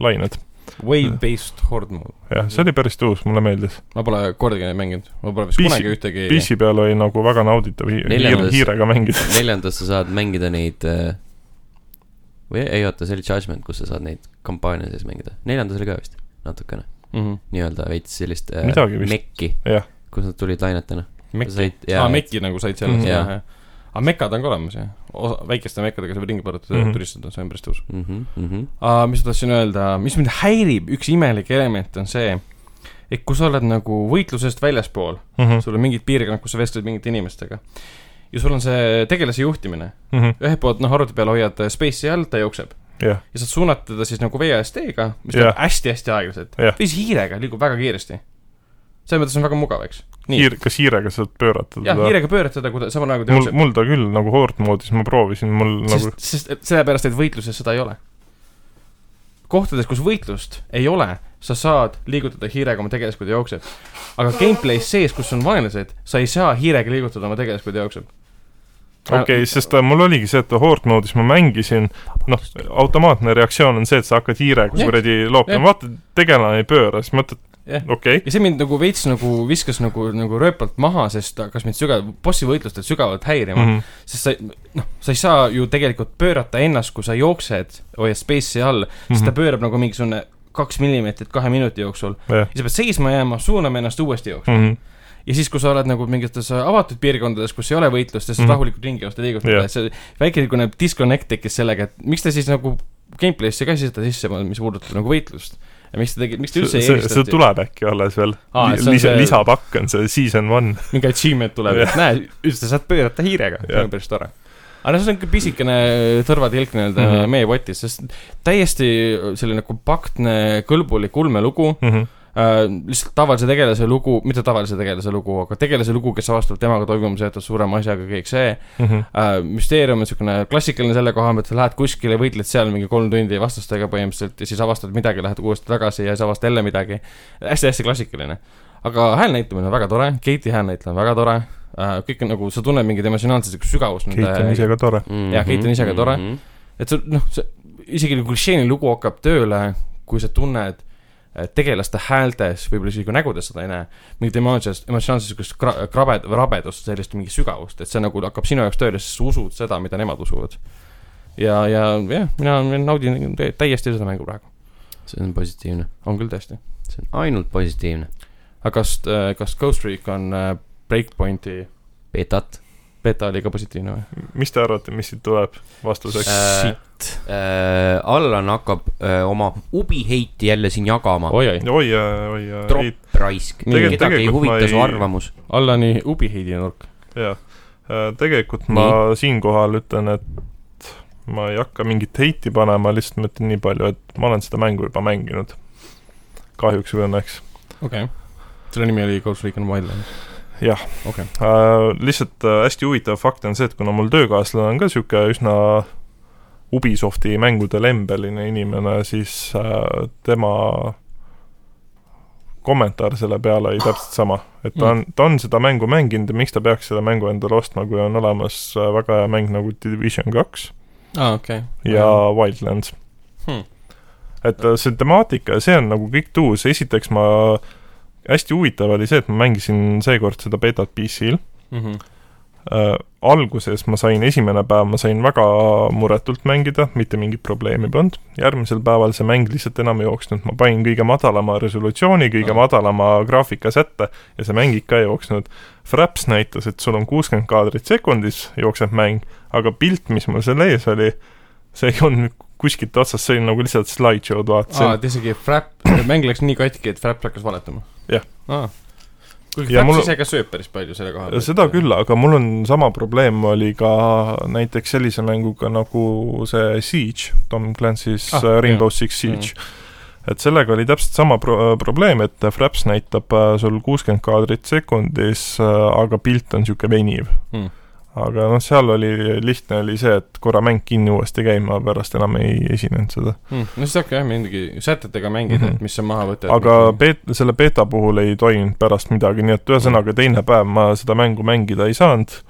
lained . Wave-based horde mode . jah , see oli päris tõus , mulle meeldis . ma pole kordagi neid mänginud , ma pole vist PC- kunagi ühtegi PC peal oli nagu väga nauditav hi- hiir, Neljandas- hiirega mängida . neljandas sa saad mängida neid äh, või ei oota , see oli Judgment , kus sa saad neid kampaania sees mängida , neljandas oli ka vist natukene mm -hmm. nii-öelda veits sellist äh, Midagi vist. mekki Jah. , kus nad tulid lainetena . Mekki , said , aa Mekki nagu said selles Mhm. mm , jah , jah . aga mekad on ka olemas , jah . osa , väikeste mekkadega saab ringi põrutada mm Mhm. -hmm. turistada , see on päris tõus . mm . -hmm. Uh, mis ma tahtsin öelda , mis mind häirib , üks imelik element on see , et kui sa oled nagu võitlusest väljaspool , Mhm, sul on mingid piirkonnad , kus sa vestled mingite inimestega ja sul on see tegelase juhtimine , mhm. ühelt poolt noh , arvuti peal hoiad äh, space'i all , ta jookseb jah , ja saad suunata teda siis nagu VST-ga , mis Jah. läheb hästi-hästi aeglaselt Jah. või siis hiirega liigub väga kiiresti . selles mõttes on väga mugav , eks . nii , hiir , kas hiirega saad pöörata jah , teda ? hiirega pöörad teda , kui ta samal ajal kui ta mul , jookseb , mul ta küll nagu horde mode'is , ma proovisin , mul nagu sest , sest et sellepärast , et võitluses seda ei ole . kohtades , kus võitlust ei ole , sa saad liigutada hiirega oma tegelast , kui ta jookseb . aga gameplay's sees , kus on vaenlased , sa ei saa hiirega liigutada oma tegelast , kui ta jookseb . okei okay, , sest äh, mul oligi see , et horde mode'is ma mängisin , noh , automaatne reaktsioon on see , et sa hakkad hiirega Jah. kuradi loopima , Jah. vaata , tegelane ei pööra , siis mõtled , Jah. okei okay, , ja see mind nagu veits nagu viskas nagu , nagu rööpalt maha , sest ta hakkas mind sügav , bossi võitlustel sügavalt häirima mm . mhm, -hmm. sest sa , noh , sa ei saa ju tegelikult pöörata ennast , kui sa jooksed , hoiad space'i all mm , -hmm. siis ta mhm, pöörab nagu mingisugune kaks millimeetrit kahe minuti jooksul . jah , ja sa pead seisma jääma , suunama ennast uuesti jooksma . mhm, ja siis , kui sa oled nagu mingites avatud piirkondades , kus ei ole võitlust ja sa Mhm. saad rahulikult ringi joosta , liigutada Jah. yeah. , see väike niisugune disconnect tekkis sellega , et miks te siis nagu gameplay'sse ka ei sisesta sisse , mis puudutab nagu võitlust . ja miks te tegite , miks te üldse see , ei see, see eelistanud ? tuleb äkki alles veel Aa, et see on lisa , see- lisapakk on see season one , mingi achievement tuleb , et näe , üldse sa saad pöörata hiirega , see Jah. on päris tore . aga noh , see on ikka pisikene tõrvatilk nii-öelda mm Mhm. -hmm. meie potis , sest täiesti selline kompaktne , kõlbulik ulmelugu Mhm, äh, . lihtsalt tavalise tegelase lugu , mitte tavalise tegelase lugu , aga tegelase lugu , kes avastab temaga toimumise seotud suurema asjaga kõik see mhm. äh, . müsteerium on niisugune klassikaline selle koha pealt , sa lähed kuskile , võitled seal mingi kolm tundi vastastega põhimõtteliselt ja siis avastad midagi , lähed uuesti tagasi ja siis avastad jälle midagi hästi, . hästi-hästi klassikaline . aga hääl näitamine on väga tore , Keiti hääl näitleja on väga tore äh, , kõik on nagu , sa tunned mingit emotsionaalset siukest sügavust Keit on ise nende , ka tore . -hmm. Jah, Keit on ise ka tore. mhm. et see noh , see isegi kui klišeeni lugu hakkab tööle , kui sa tunned äh, tegelaste häältes , võib-olla isegi nägudes seda ei näe , mingit emotsionaalset , emotsionaalset siukest kra- , krabed- , rabedust , sellist mingi sügavust , et see nagu hakkab sinu jaoks tööle , sest sa usud seda , mida nemad usuvad . ja , ja jah , mina mina naudin tä- täiesti seda mängu praegu , see on positiivne , on küll tõesti . see on ainult positiivne . aga kas , kas Ghost Recon äh, Breakpointi betat beta oli ka positiivne või ? mis te arvate , mis siit tuleb vastuseks ? äh, . äh, Allan hakkab äh, oma ubiheiti jälle siin jagama . oi-oi , oi , oi , Drop. ei , raisk , Tegel- kedagi ei tegelikult ma huvita ei- su arvamus . Allani ubiheidi nurk . jah , tegelikult ma siinkohal ütlen , et ma ei hakka mingit heiti panema , lihtsalt ma ütlen nii palju , et ma olen seda mängu juba mänginud . kahjuks või õnneks . okei okay. . selle nimi oli Ghost Recon Wildlands . Jah. okei okay. , lihtsalt äh, hästi huvitav fakt on see , et kuna mul töökaaslane on ka niisugune üsna Ubisofti mängude lembeline inimene , siis äh, tema kommentaar selle peale oli täpselt sama , et ta on , ta on seda mängu mänginud ja miks ta peaks selle mängu endale ostma , kui on olemas äh, väga hea mäng nagu Division kaks aa Ah, okei ja Wildlands Hmm. hmm. . et äh, see temaatika ja see on nagu kõik tuus , esiteks ma , hästi huvitav oli see , et ma mängisin seekord seda betat PC-l mm . -hmm. äh, . alguses ma sain , esimene päev ma sain väga muretult mängida , mitte mingit probleemi polnud , järgmisel päeval see mäng lihtsalt enam ei jooksnud , ma panin kõige madalama resolutsiooni , kõige Ah. ah. madalama graafika sätte ja see mäng ikka ei jooksnud . Fraps näitas , et sul on kuuskümmend kaadrit sekundis , jookseb mäng , aga pilt , mis mul seal ees oli , see ei olnud kuskilt otsast , see oli nagu lihtsalt slideshow'd aa , vaatasin . et isegi Frap , mäng läks nii katki , et Frap hakkas valetama . Jah. aa . kuigi Ja Frap mul... mul- ise ka sööb päris palju selle koha Äh, seda küll , aga mul on sama probleem oli ka näiteks sellise mänguga nagu see Siege , Tom Clancy's Ah, ah, Rainbow Six Siege mm. . et sellega oli täpselt sama pro äh, probleem , et Fraps näitab äh, sul kuuskümmend kaadrit sekundis , aga pilt on niisugune veniv Hmm. hmm. . aga noh , seal oli , lihtne oli see , et korra mäng kinni uuesti käima , pärast enam ei esinenud seda . hmm. . no siis hakka jah , mingi sätetega mängida , et mis on maha võtta . Mhm. aga beet- , selle beeta puhul ei toiminud pärast midagi , nii et ühesõnaga teine päev ma seda mängu mängida ei saanud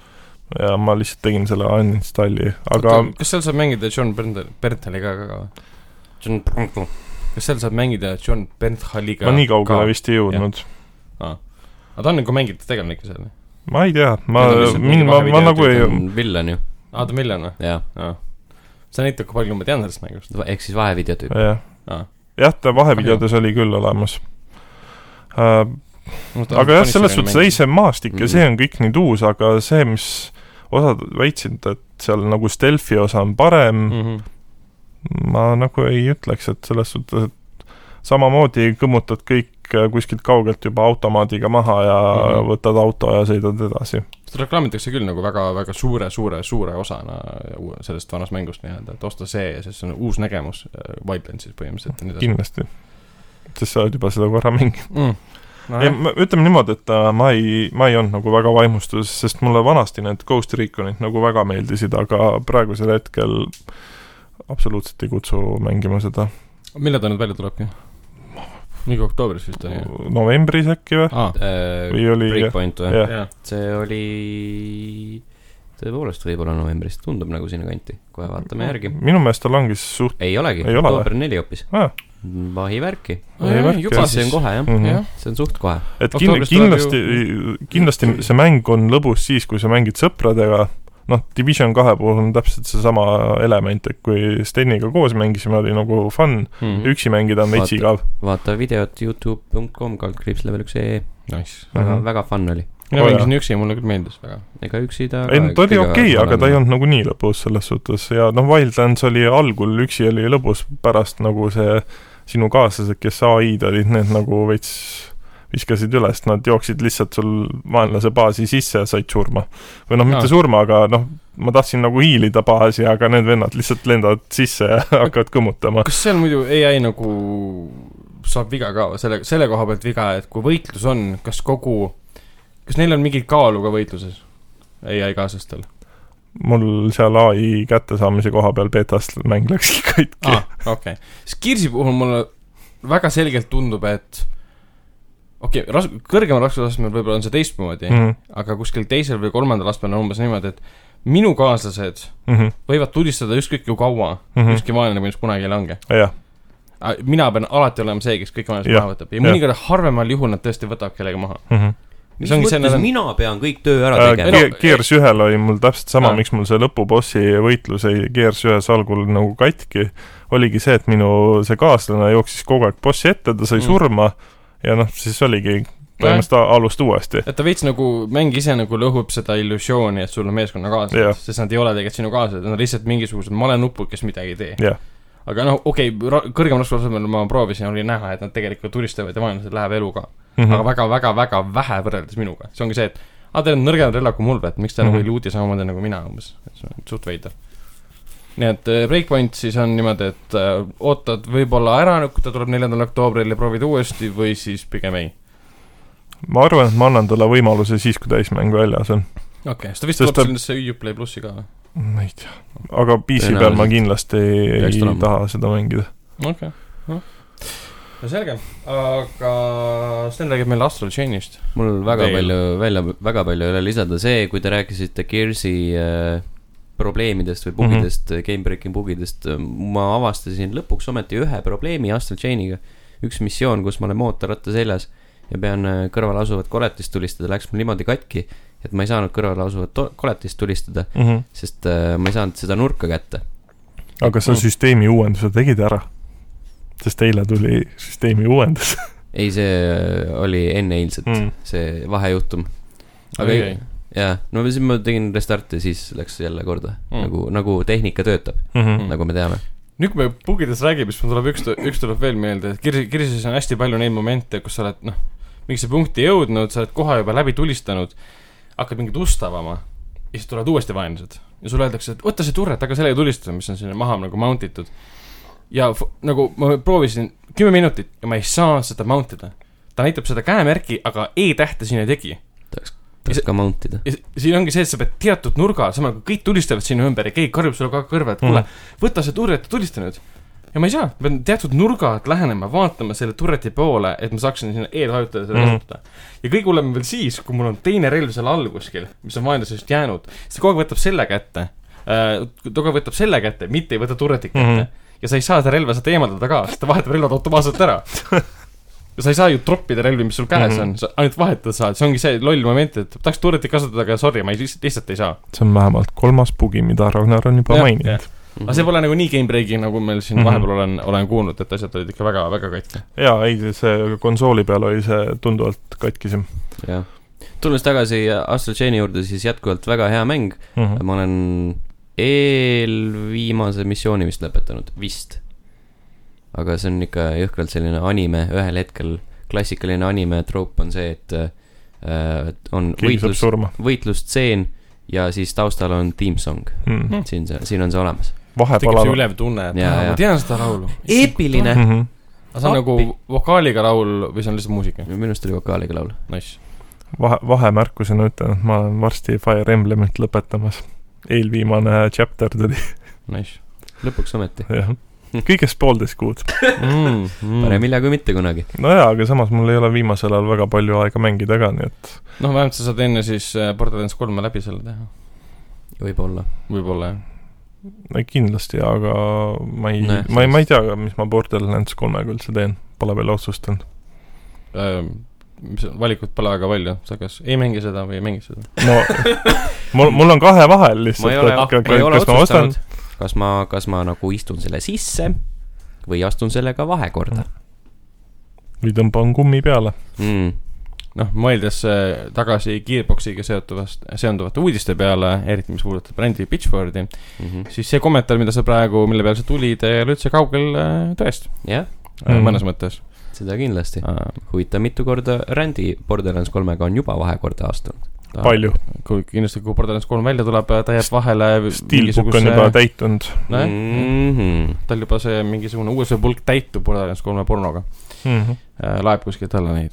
ja ma lihtsalt tegin selle uninstalli , aga kas seal saab mängida John Bernthal , Bernthaliga ka või ? see on , kas seal saab mängida John Bernthaliga ? ma nii kaugele . vist ei jõudnud . aga ta on nagu mängitav tegelane ikka seal või ? ma ei tea , ma Need on lihtsalt , mingi mind , ma , ma vahevideod, nagu see ei , on villan ju , aa , ta on miljon või ? jaa . see näitab , kui palju ma tean sellest mängust . ehk siis vahevideo tüüp . jah Aa. , jah , ta vahevideodes oli küll olemas . aga jah , selles suhtes ei , see maastik ja Mm. Mhm. see on kõik nüüd uus , aga see , mis osad väitsid , et seal nagu stealth'i osa on parem mm , mm . -hmm. ma nagu ei ütleks , et selles suhtes , et samamoodi kõmmutad kõik äh, kuskilt kaugelt juba automaadiga maha ja mm Mhm. -hmm. võtad auto ja sõidad edasi . seda reklaamitakse küll nagu väga , väga suure , suure , suure osana uue- sellest vanast mängust nii-öelda , et osta see ja siis on uus nägemus äh, Wildlandsis põhimõtteliselt ja nii edasi kindlasti . sest sa oled juba seda korra mänginud . mm. . ei , ma ütleme niimoodi , et äh, ma ei , ma ei olnud nagu väga vaimustuses , sest mulle vanasti need Ghost Reconid nagu väga meeldisid , aga praegusel hetkel absoluutselt ei kutsu mängima seda . millal ta nüüd välja tulebki ? mingi oktoobris vist on ju ? novembris äkki või ? aa , või oli Äh, Breakpoint või ? jah , jah . see oli tõepoolest võib-olla novembris , tundub nagu sinnakanti , kohe vaatame järgi . minu meelest ta langes suht- , ei olegi , Ei ole Ah. oktoober neli hoopis . aa , vahi värki , Ei märka. juba see on siis . kohe jah , Mhm. jah , see on suht kohe . et kin- , Oktoobris tuleb kindlasti , kindlasti see mäng on lõbus siis , kui sa mängid sõpradega , noh , Division kahe puhul on täpselt seesama element , et kui Steniga koos mängisime , oli nagu fun , Mhm. üksi mängida on veits Vaata- igav . vaata videot Youtube.com kaldkriips level üks ee , nice . väga , Mhm. väga fun oli . mina Oo, mängisin üksi , mulle küll meeldis väga . ega üksi ta ei no ta oli okei okay, , aga ta ei olnud nagu nii lõbus selles suhtes ja noh , Wildlands oli algul üksi oli lõbus , pärast nagu see sinu kaaslased , kes ai-d olid , need nagu veits viskasid üles , nad jooksid lihtsalt sul vaenlase baasi sisse ja said surma . või noh , Aa. mitte surma , aga noh , ma tahtsin nagu hiilida baasi , aga need vennad lihtsalt lendavad sisse ja hakkavad kõmmutama . kas seal muidu ai nagu saab viga ka , selle , selle koha pealt viga , et kui võitlus on , kas kogu , kas neil on mingit kaalu ka võitluses ? ai kaaslastel . mul seal ai kättesaamise koha peal betast mäng läkski katki aa , Ah, okei okay. . siis Kirsi puhul mulle väga selgelt tundub , et okei okay, , ras- , kõrgemal raskusastmel võib-olla on see teistmoodi mm. , mm . aga kuskil teisel või kolmandal astmel on umbes niimoodi , et minu kaaslased -hmm. võivad tulistada ükskõik kui kaua mm. , Mhm. ükski vaenlane minust kunagi ei lange . jah , mina pean alati olema see , kes kõik vaenlased Jah, maha võtab ja jah. mõnikord harvemal juhul nad tõesti võtavad kellegi maha . mhm. mis see ongi see, mõttes nad on- mina pean kõik töö ära Äh, tegema ? Ge- Gears ühel oli mul täpselt sama Aa. , miks mul see lõpubossi võitlus ei , Gears ühes algul nagu katki , oligi see , et minu see kaaslane jooksis kogu aeg bossi ette , ta sai Mm. mm. surma ja noh , siis oligi põhimõtteliselt a- alust uuesti . et ta veits nagu , mäng ise nagu lõhub seda illusiooni , et sul on meeskonnakaaslased Jah. yeah. , sest nad ei ole tegelikult sinu kaaslased , nad on lihtsalt mingisugused malenupud , kes midagi ei tee Jah. aga noh , okei okay, , kõrgemal raskusasemel ma proovisin , oli näha , et nad tegelikult turistavad ja vaenlased läheb eluga mm Mhm. -hmm. , aga väga-väga-väga vähe võrreldes minuga , see ongi see , et aa , teil on nõrgem relv kui mul , et miks te mm -hmm. Mhm. nagu ei luudi samamoodi nagu mina umbes , et see on suht veider . nii et äh, Breakpoint siis on niimoodi , et äh, ootad võib-olla ära , kui ta tuleb neljandal oktoobril ja proovid uuesti või siis pigem ei . ma arvan , et ma annan talle võimaluse siis , kui täismäng väljas on . okei okay, , sest ta vist Sest tuleb ta- sellesse Uplay plussi ka või ? ma ei tea , aga PC peal ma Tõenäoliselt. kindlasti ei, Peaks ei tulema. taha seda mängida . okei okay. , noh . no selge , aga Sten räägib meile Astral Chainist . mul väga Veel. palju välja , väga palju ei ole lisada , see , kui te rääkisite Gearsi äh, probleemidest Mhm. või bugidest mm , -hmm. game breaking bugidest , ma avastasin lõpuks ometi ühe probleemi Astral Chainiga . üks missioon , kus ma olen mootorratta seljas ja pean äh, kõrval asuvat koletist tulistada , läks mul niimoodi katki , et ma ei saanud kõrval asuvat to- koletist tulistada , sest äh, ma ei saanud seda nurka kätte . aga sa Mm. süsteemi uuenduse tegid ära ? sest eile tuli süsteemi uuendus ei , see äh, oli enne eilset mm. , mm. . see vahejuhtum . Aga ei- jaa , no siis ma tegin restarti , siis läks jälle korda Mm. mm. , nagu , nagu tehnika töötab mm. , Mm -hmm. nagu me teame . nüüd , kui me bugidest räägime , siis mul tuleb üks , üks tuleb veel meelde , et kirsi , kirsis on hästi palju neid momente , kus sa oled noh , mingisse punkti jõudnud , sa oled koha juba läbi tulistanud , hakkad mingit ust avama ja siis tulevad uuesti vaenlased . ja sulle öeldakse , et võta see turret , hakka sellega tulistama , mis on sinna maha nagu mount itud . ja f- nagu ma proovisin kümme minutit ja ma ei saanud seda mount ida . ta näitab seda käemärki , aga E-tähte siin ei tegi . tahaks ka mount ida . ja si- siin ongi see , et sa pead teatud nurga , samal ajal kui kõik tulistavad sinu ümber ja keegi karjub sulle ka kõrva , et kuule , võta see turret ja tulista nüüd . ja ma ei saa , ma pean teatud nurgad lähenema , vaatama selle turreti poole , et ma saaksin sinna E-d hajutada ja seda Mhm. kasutada mm. . ja kõige hullem on veel siis , kui mul on teine relv seal all kuskil , mis on vaenlasest jäänud , siis ta kogu aeg võtab selle kätte . ta kogu aeg võtab selle kätte , mitte ei võta turretit kätte mm . Mhm. -hmm. ja sa ei saa seda relva sealt eemaldada ka , sest ta vahetab relvad automaatselt ära ja sa ei saa ju troppida relvi , mis sul käes mm Mhm. -hmm. on , sa ainult vahetada saad , see ongi see loll moment , et tahaks turretit kasutada , aga sorry , ma ei, lihtsalt, lihtsalt ei saa . see on vähemalt kolmas bugi , mida Ragnar on juba Jah, maininud jah. . aga see pole nagu nii game break'i , nagu meil siin mm Mhm. -hmm. vahepeal olen , olen kuulnud , et asjad olid ikka väga , väga katki . jaa , ei , see konsooli peal oli see tunduvalt katkisem jah . tulles tagasi Astral Chain'i juurde , siis jätkuvalt väga hea mäng . mm . -hmm. ma olen eelviimase missiooni vist lõpetanud , vist . aga see on ikka jõhkralt selline anime , ühel hetkel klassikaline anime troop on see , et äh, et on keegi saab võitlus , surma võitlustseen ja siis taustal on team song , mm. . siin see , siin on see olemas . tekib see vahepalal . ülev tunne , et Jaa, aa, jaa. ma tean seda laulu . eepiline Mm . -hmm. aga see on nagu Appi. vokaaliga laul või see on lihtsalt muusika ? minu arust oli vokaaliga laul . Nice . vahe , vahemärkusena ütlen , et ma olen varsti Fire Emblemit lõpetamas . eelviimane chapter tuli , Nice lõpuks ometi . jah . Hm. kõigest poolteist kuud . mm, . Mm. Mhm. parem hilja kui mitte kunagi . nojaa , aga samas mul ei ole viimasel ajal väga palju aega mängida ka , nii et noh , vähemalt sa saad enne siis äh, Borderlands kolme läbi selle teha . võib-olla . võib-olla jah . no kindlasti , aga ma ei Nojah, , ma ei , ma ei tea , mis ma Borderlands kolmega üldse teen . Pole veel otsustanud . äh, mis valikut pole väga palju , sa kas ei mängi seda või ei mängi seda . no mul , mul on kahe vahel ma ei lihtsalt , ole , et ka- ma ei ole kas ma ostan otsustanud , kas ma , kas ma nagu istun selle sisse või astun sellega vahekorda või tõmban kummi peale . mm. . noh , mõeldes äh, tagasi Gearboxiga seotuvast , seonduvate uudiste peale , eriti mis puudutab brändi Pitchfordi , Mm -hmm. siis see kommentaar , mida sa praegu , mille peale sa tulid , ei ole üldse kaugel äh, tõest jah , mm. Mm. mõnes mõttes . Äh, seda kindlasti . huvitav , mitu korda Randy Borderlands kolmega on juba vahekorda astunud . palju . kui kindlasti , kui Borderlands kolm välja tuleb , ta jääb vahele . Steelbook on juba täitunud nojah , -hmm. tal juba see mingisugune USA pulk täitub Borderlands kolme pornoga , mm . -hmm. laeb kuskilt alla neid .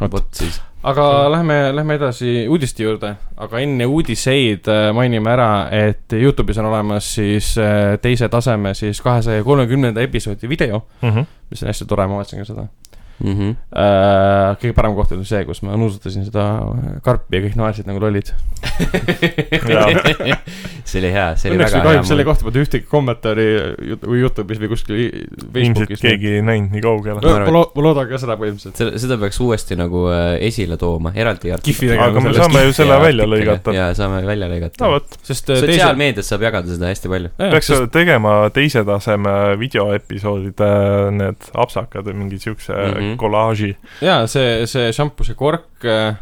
Vot. vot siis , aga lähme , lähme edasi uudiste juurde , aga enne uudiseid äh, mainime ära , et Youtube'is on olemas siis äh, teise taseme siis kahesaja kolmekümnenda episoodi video , Mm -hmm. mis on hästi tore , ma vaatasin ka seda . mm . -hmm. kõige parem koht oli see , kus ma nuusutasin seda karpi ja kõik naersid nagu lollid . see oli hea , see oli Õnneks väga või kahjuks selle hea . kohta polnud ühtegi kommentaari Yout- või Youtube'is või kuskil i- ilmselt Facebookis . keegi ei näinud nii kaugele . Ma arvan, ma loo- ma loodan ka seda põhimõtteliselt . seda , seda peaks uuesti nagu äh, esile tooma , eraldi artikli . Kihvi tegema aga me sellest. saame ju selle välja lõigata . jaa , saame välja lõigata no no, . vot , sest äh, teise , sotsiaalmeedias saab jagada seda hästi palju . peaks tegema teise taseme videoepisoodide need apsakad või mingi siukse mm Mhm. -hmm. kollaaži . jaa , see , see šampuse kork äh,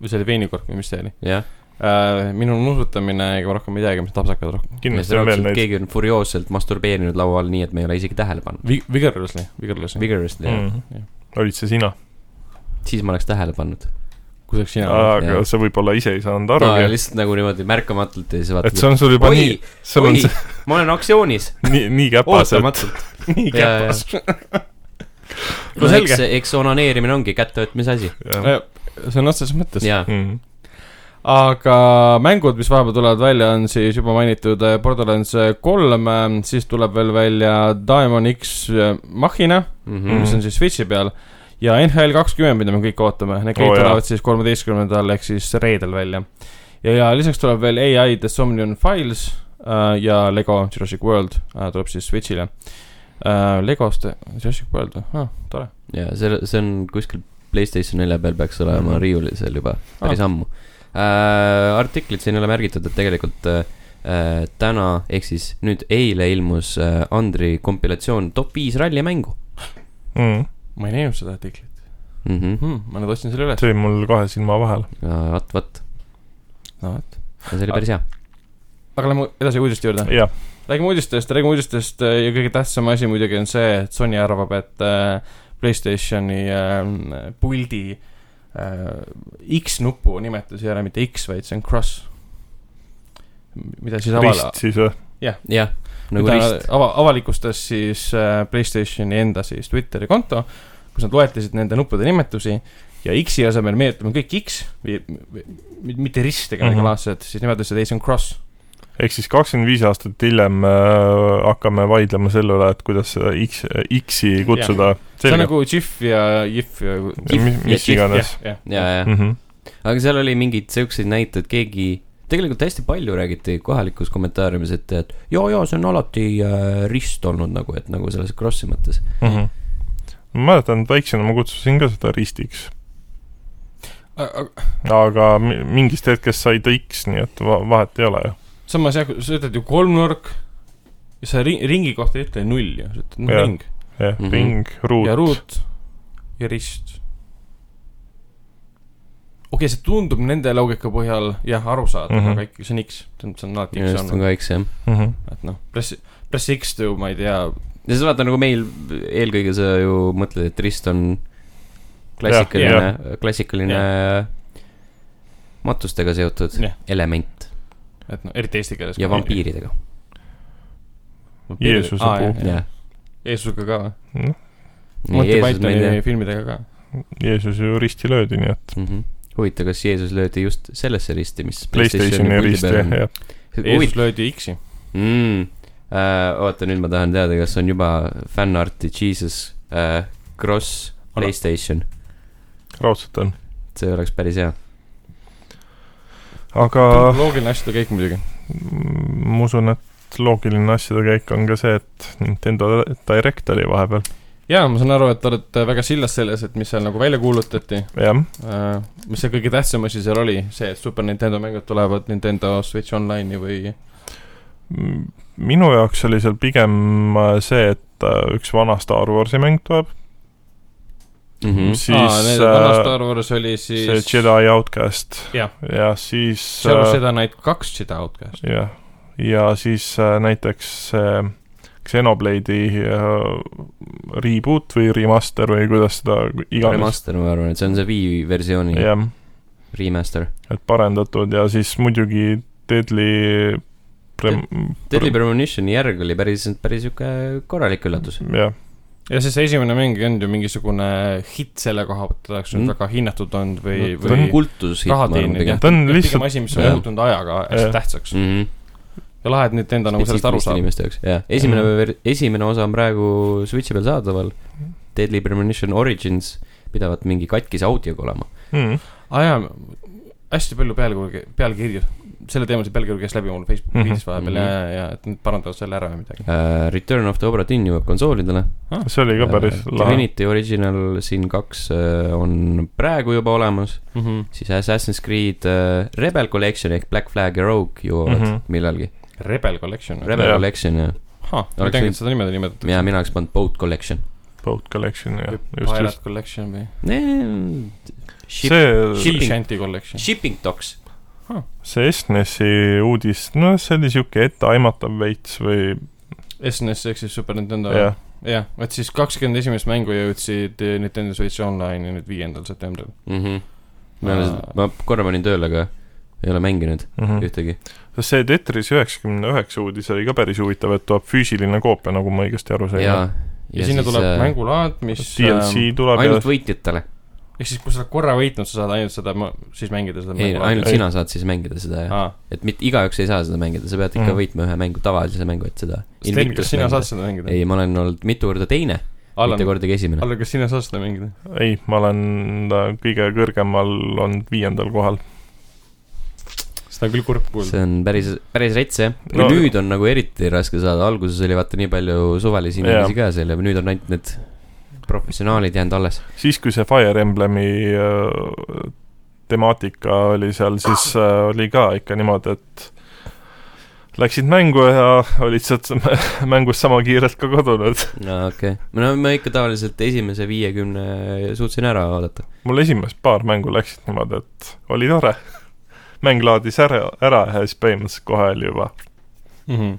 või see oli veinikork või mis see oli jah , äh, , minu nuusutamine ega rohkem midagi , mis tapsakad rohkem . kindlasti on veel neid . keegi on furioosselt masturbeerinud laua all nii , et me ei ole isegi tähele pannud . Vigorously , Vigorously . Vigorously mm. , Jah. Mm. olid see sina ? siis ma oleks tähele pannud . kus oleks sina olnud ? aga jah. sa võib-olla ise ei saanud no ja arugi . lihtsalt nagu niimoodi märkamatult ja siis vaatad et see on sul juba oi, nii , sul on oi see , ma olen aktsioonis , nii , nii käpas , et ootamatult . nii jaa, jaa. käpas . no no eks selge ,, eks onaneerimine ongi kättevõtmise asi . Äh. jah. sõna otseses mõttes . jaa , Mm. aga mängud , mis vahepeal tulevad välja , on siis juba mainitud äh, Borderlands kolm , siis tuleb veel välja Diamond X äh, Machina , Mhm. Mm. mis on siis Switchi peal ja NHL kakskümmend , mida me kõik ootame , need kõik Oo, oh, jaa. tulevad siis kolmeteistkümnendal ehk siis reedel välja . ja , ja lisaks tuleb veel ai The Somnium Files äh, ja Lego Jurassic World äh, tuleb siis Switchile äh, . Legost , Jurassic World ah, , tore . jaa , see , see on kuskil Playstation nelja peal peaks olema Mhm. riiulisel juba päris Ah. ammu äh, . artiklid siin ei ole märgitud , et tegelikult äh, äh, täna , ehk siis nüüd eile ilmus äh, Andri kompilatsioon top viis rallimängu Mm. ma ei näinud seda artiklit mm . -hmm. hmm, , ma nüüd ostsin selle üles . see oli mul kahe silma vahel . vot , vot , no vot . Ah. see oli päris hea . aga lähme edasi uudiste juurde . jah , räägime uudistest , räägime uudistest äh, ja kõige tähtsam asi muidugi on see , et Sony arvab , et äh, Playstationi äh, puldi äh, X-nupu nimetus ei ole mitte X , vaid see on cross . mida siis aval- rist , siis äh, või ? jah , nagu mida rist . ava- , avalikustas siis äh, Playstationi enda siis Twitteri konto , kus nad loetlesid nende nuppude nimetusi ja X-i asemel meenutame kõik X , mitte rist ega Mhm. midagi mm -hmm. laadset , siis nimetasid , ei see on cross . ehk siis kakskümmend viis aastat hiljem äh, hakkame vaidlema selle üle , et kuidas seda X , X-i kutsuda . see on nagu GIF ja GIF ja . mis, mis iganes . ja , ja , Mhm. Mm -hmm. aga seal oli mingeid siukseid näiteid , keegi , tegelikult hästi palju räägiti kohalikus kommentaariumis , et , et jaa , jaa , see on alati äh, rist olnud nagu , et nagu selles crossi mõttes . mm . -hmm. ma mäletan , et väiksena ma kutsusin ka seda ristiks , aga mi- mingist hetkest sai ta X , nii et va vahet ei ole ju . samas jah , sa ütled ju kolmnurk , sa ri- ringi kohta ei ütle null ju , sa ütled no, Jah. ring jah mm Mhm. -hmm. , ring , ruut . ja ruut ja rist . okei okay, , see tundub nende loogika põhjal jah , arusaadav mm , Mhm. -hmm. aga ikkagi see on X , see on alati X just , on olnud , ka eks jah . mm . -hmm. et noh , pressi , pressi X to , ma ei tea , ja siis vaata nagu meil eelkõige sa ju mõtled , et rist on Jah, klassikaline , klassikaline matustega seotud Jah. element et noh , eriti eesti keeles . ja . vampiiridega . Jeesuse Aa, puu jah. . jah . Jeesusega ka või ? noh , Monty Pythoni filmidega ka . Jeesus ju risti löödi , nii et Mhm. huvitav , kas Jeesus löödi just sellesse risti , mis Playstationi rist , jah , jah . huvitav Jeesus , löödi X-i . mm, . Äh, oota , nüüd ma tahan teada , kas on juba fännarti Jesus äh, Cross Ole- Playstation , raudselt on . see oleks päris hea . aga loogiline asjade kõik muidugi . mm, ma usun , et loogiline asjade käik on ka see , et Nintendo Direct oli vahepeal , jaa , ma saan aru , et te olete väga sillas selles , et mis seal nagu välja kuulutati , jah . Äh, mis see kõige tähtsam asi seal oli , see , et Super Nintendo mängud tulevad Nintendo Switch Online'i või minu jaoks oli seal pigem äh, see , et äh, üks vana Star Warsi mäng tuleb , Mm -hmm. siis aa , need vana äh, Star Wars oli see siis Jedi Outcast Jah. ja siis seal on äh, seda neid kaks seda outcast'i . jah , ja siis äh, näiteks see Xenoblade'i äh, reboot või remaster või kuidas seda iganes , remaster , ma arvan , et see on see Wii versiooni yeah. jah , remaster . et parendatud ja siis muidugi Deadly Prem- , Deadly Premonitioni järg oli päris , päris sihuke korralik üllatus . jah , ja siis see esimene mäng ei olnud ju mingisugune hitt selle koha pealt , et oleks Hmm? nüüd Mm. väga hinnatud olnud või , ta nagu on või kultushitt , ma raha arvan teeninud pigem jah . Ta on nagu pigem lihtsalt- asi , mis on jah. muutunud ajaga hästi Jah. tähtsaks . mm . -hmm. ja lahe , et Nintendo nagu sellest aru saab . inimeste jaoks , jah . esimene Mhm. mm. , esimene osa on praegu Switchi peal saadaval . Deadly Premonition Origins pidavat mingi katkise audioga olema . mm, aa jaa , hästi palju pealkirju , pealkirju , selle teemalise pealkirju käis läbi mul Facebooki Mhm. feed'is vahepeal ja Mhm. , ja , ja , et nad parandavad selle ära või midagi . Uh, Return of the Obra Dinn jõuab konsoolidele . see oli ka päris lahe , Äh, Divinity Original Sin kaks uh, on praegu juba olemas , Mhm. siis Assassin's Creed uh, Rebel Collection ehk Black Flag ja Rogue jõuavad mm Mhm. -hmm. millalgi . Rebel Collection . Rebel Jah. Collection ja , ma ei Oleks teadnud võinud- et seda nime nimetatakse . ja mina oleks pannud Boat Collection . Boat Collection , jah , just , Pirate just . Collection või ? Ship, see , Shipping. Shanty Collection . shipping Docs see SNESi uudis , no see oli sihuke etteaimatav veits või SNES ehk siis Super Nintendo . jah , jah , et siis kakskümmend esimest mängu jõudsid eh, Nintendo Switch Online'i nüüd viiendal septembril . mm . -hmm. ma olen seda , ma korra panin tööle , aga ei ole mänginud mhm. ühtegi . sest see Tetris üheksakümne üheksa uudis oli ka päris huvitav , et tuleb füüsiline koopia , nagu ma õigesti aru sain . ja , ja sinna tuleb äh, . mängulaad , mis . DLC tuleb ja ainult võitjatele , ehk siis , kui sa oled korra võitnud , sa saad ainult seda , siis mängida seda ei , ainult Ei. sina saad siis mängida seda ja , ainult . et mitte igaüks ei saa seda mängida , sa pead ikka Mhm. võitma ühe mängu , tavalise mängu , et seda . Sten , kas sina saad seda mängida ? ei , ma olen olnud mitu korda teine , Allan mitte , kordagi esimene . Allan , kas sina saad seda mängida ? ei , ma olen äh, kõige kõrgemal olnud viiendal kohal . seda on küll kurb kuulda . see on päris , päris rets jah . No- nüüd on nagu eriti raske saada , alguses oli vaata nii palju suvalisi inimesi ka seal ja nüüd on ainult need professionaalid jäänud alles . siis , kui see Fire Emblemi äh, temaatika oli seal , siis äh, oli ka ikka niimoodi , et läksid mängu ja olid sealt mängust sama kiirelt ka kadunud . no okei okay. , no ma ikka tavaliselt esimese viiekümne suutsin ära oodata . mul esimest paar mängu läksid niimoodi , et oli tore . mäng laadis ära , ära ja siis põhimõtteliselt kohe oli juba Mhm. mhmh ,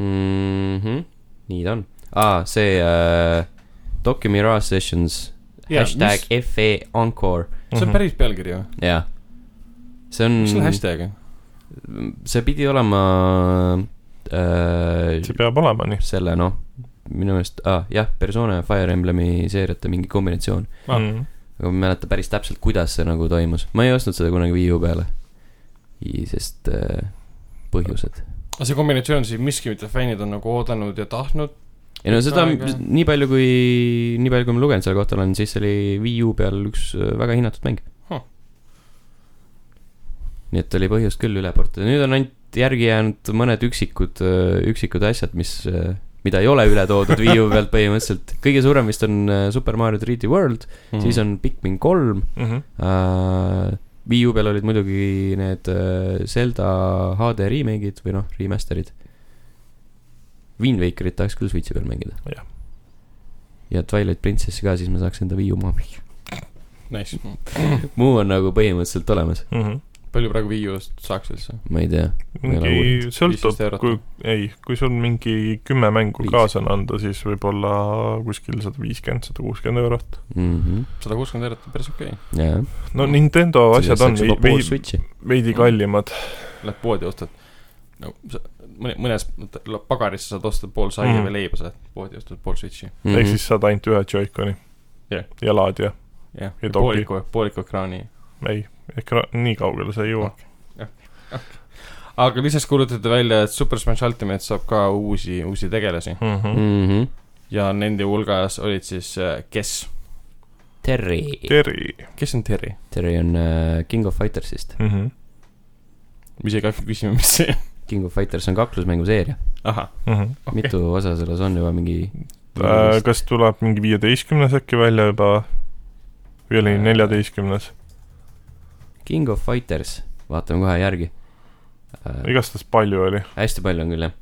Mhm. nii ta on . aa , see äh, Tokyo Mirage Sessions ja, hashtag mis... FE Encore , see on Mhm. päris pealkiri või ? jaa . see on Mm. mis , selle hashtag'i ? see pidi olema äh, see peab olema nii . selle noh , minu meelest ah, , jah , Persona ja Fire Emblemi seeriate mingi kombinatsioon . Ah. Mm. aga ma ei mäleta päris täpselt , kuidas see nagu toimus , ma ei ostnud seda kunagi Wii U peale . sest äh, põhjused . aga see kombinatsioon siis miski , mida fännid on nagu oodanud ja tahtnud . ei no seda , Aega. nii palju kui , nii palju , kui ma lugenud selle kohta olen , siis see oli Wii U peal üks äh, väga hinnatud mäng Huh. huh. . nii et oli põhjust küll üle portida , nüüd on ainult järgi jäänud mõned üksikud , üksikud asjad , mis , mida ei ole üle toodud Wii U pealt põhimõtteliselt . kõige suurem vist on äh, Super Mario 3D World Hmm. Mhm. mm. , siis on Pikmin kolm Mm -hmm. uh, . Wii U peal olid muidugi need uh, Zelda HD remake'id või noh , remaster'id . Wind Wakerit tahaks küll Switch'i peal mängida . Jah. ja Twilight Princessi ka , siis ma saaks enda Wii U maha . Nice . muu on nagu põhimõtteliselt olemas , Mm -hmm. palju praegu Wii U-st saaks üldse ? ma ei tea . Ma ei ole mingi uurinud. sõltub 15 eurot. , kui , ei , kui sul mingi kümme mängu Viis. kaasa on anda , siis võib-olla kuskil sada viiskümmend , sada kuuskümmend eurot . mm . -hmm. sada kuuskümmend eurot on päris okei okay. . jaa . no Nintendo asjad on vei- pool Mm. vei- Switch'i . veidi kallimad . Lähed poodi ja ostad nagu sa mõne , mõnes mõttes- la- pagaris sa saad osta pool saia Mhm. mm. või leiba , sa lähed poodi ja ostad pool switch'i . Mhm. ehk siis saad ainult ühe Joy-Coni Jah. ja laadija . jah , Ja doki. pooliku , pooliku ekraani . ei , ekra- , nii kaugele sa ei jõua . aga lisaks kuulutati välja , et Super Smash Ultimate saab ka uusi , uusi tegelasi mm . -hmm. mm . -hmm. ja nende hulgas olid siis , kes , Terry , Terri kes on Terry ? Terry on uh, King of Fightersist . mm . -hmm. me isegi ei hakka küsima , mis see on . King of Fighters on kaklusmänguseeria ahah , Mm -hmm. okay. , mitu osa selles on juba mingi . äh, kas tuleb mingi viieteistkümnes äkki välja juba või oli Äh. neljateistkümnes , King of Fighters , vaatame kohe järgi äh, . igastahes palju oli . hästi palju on küll jah ,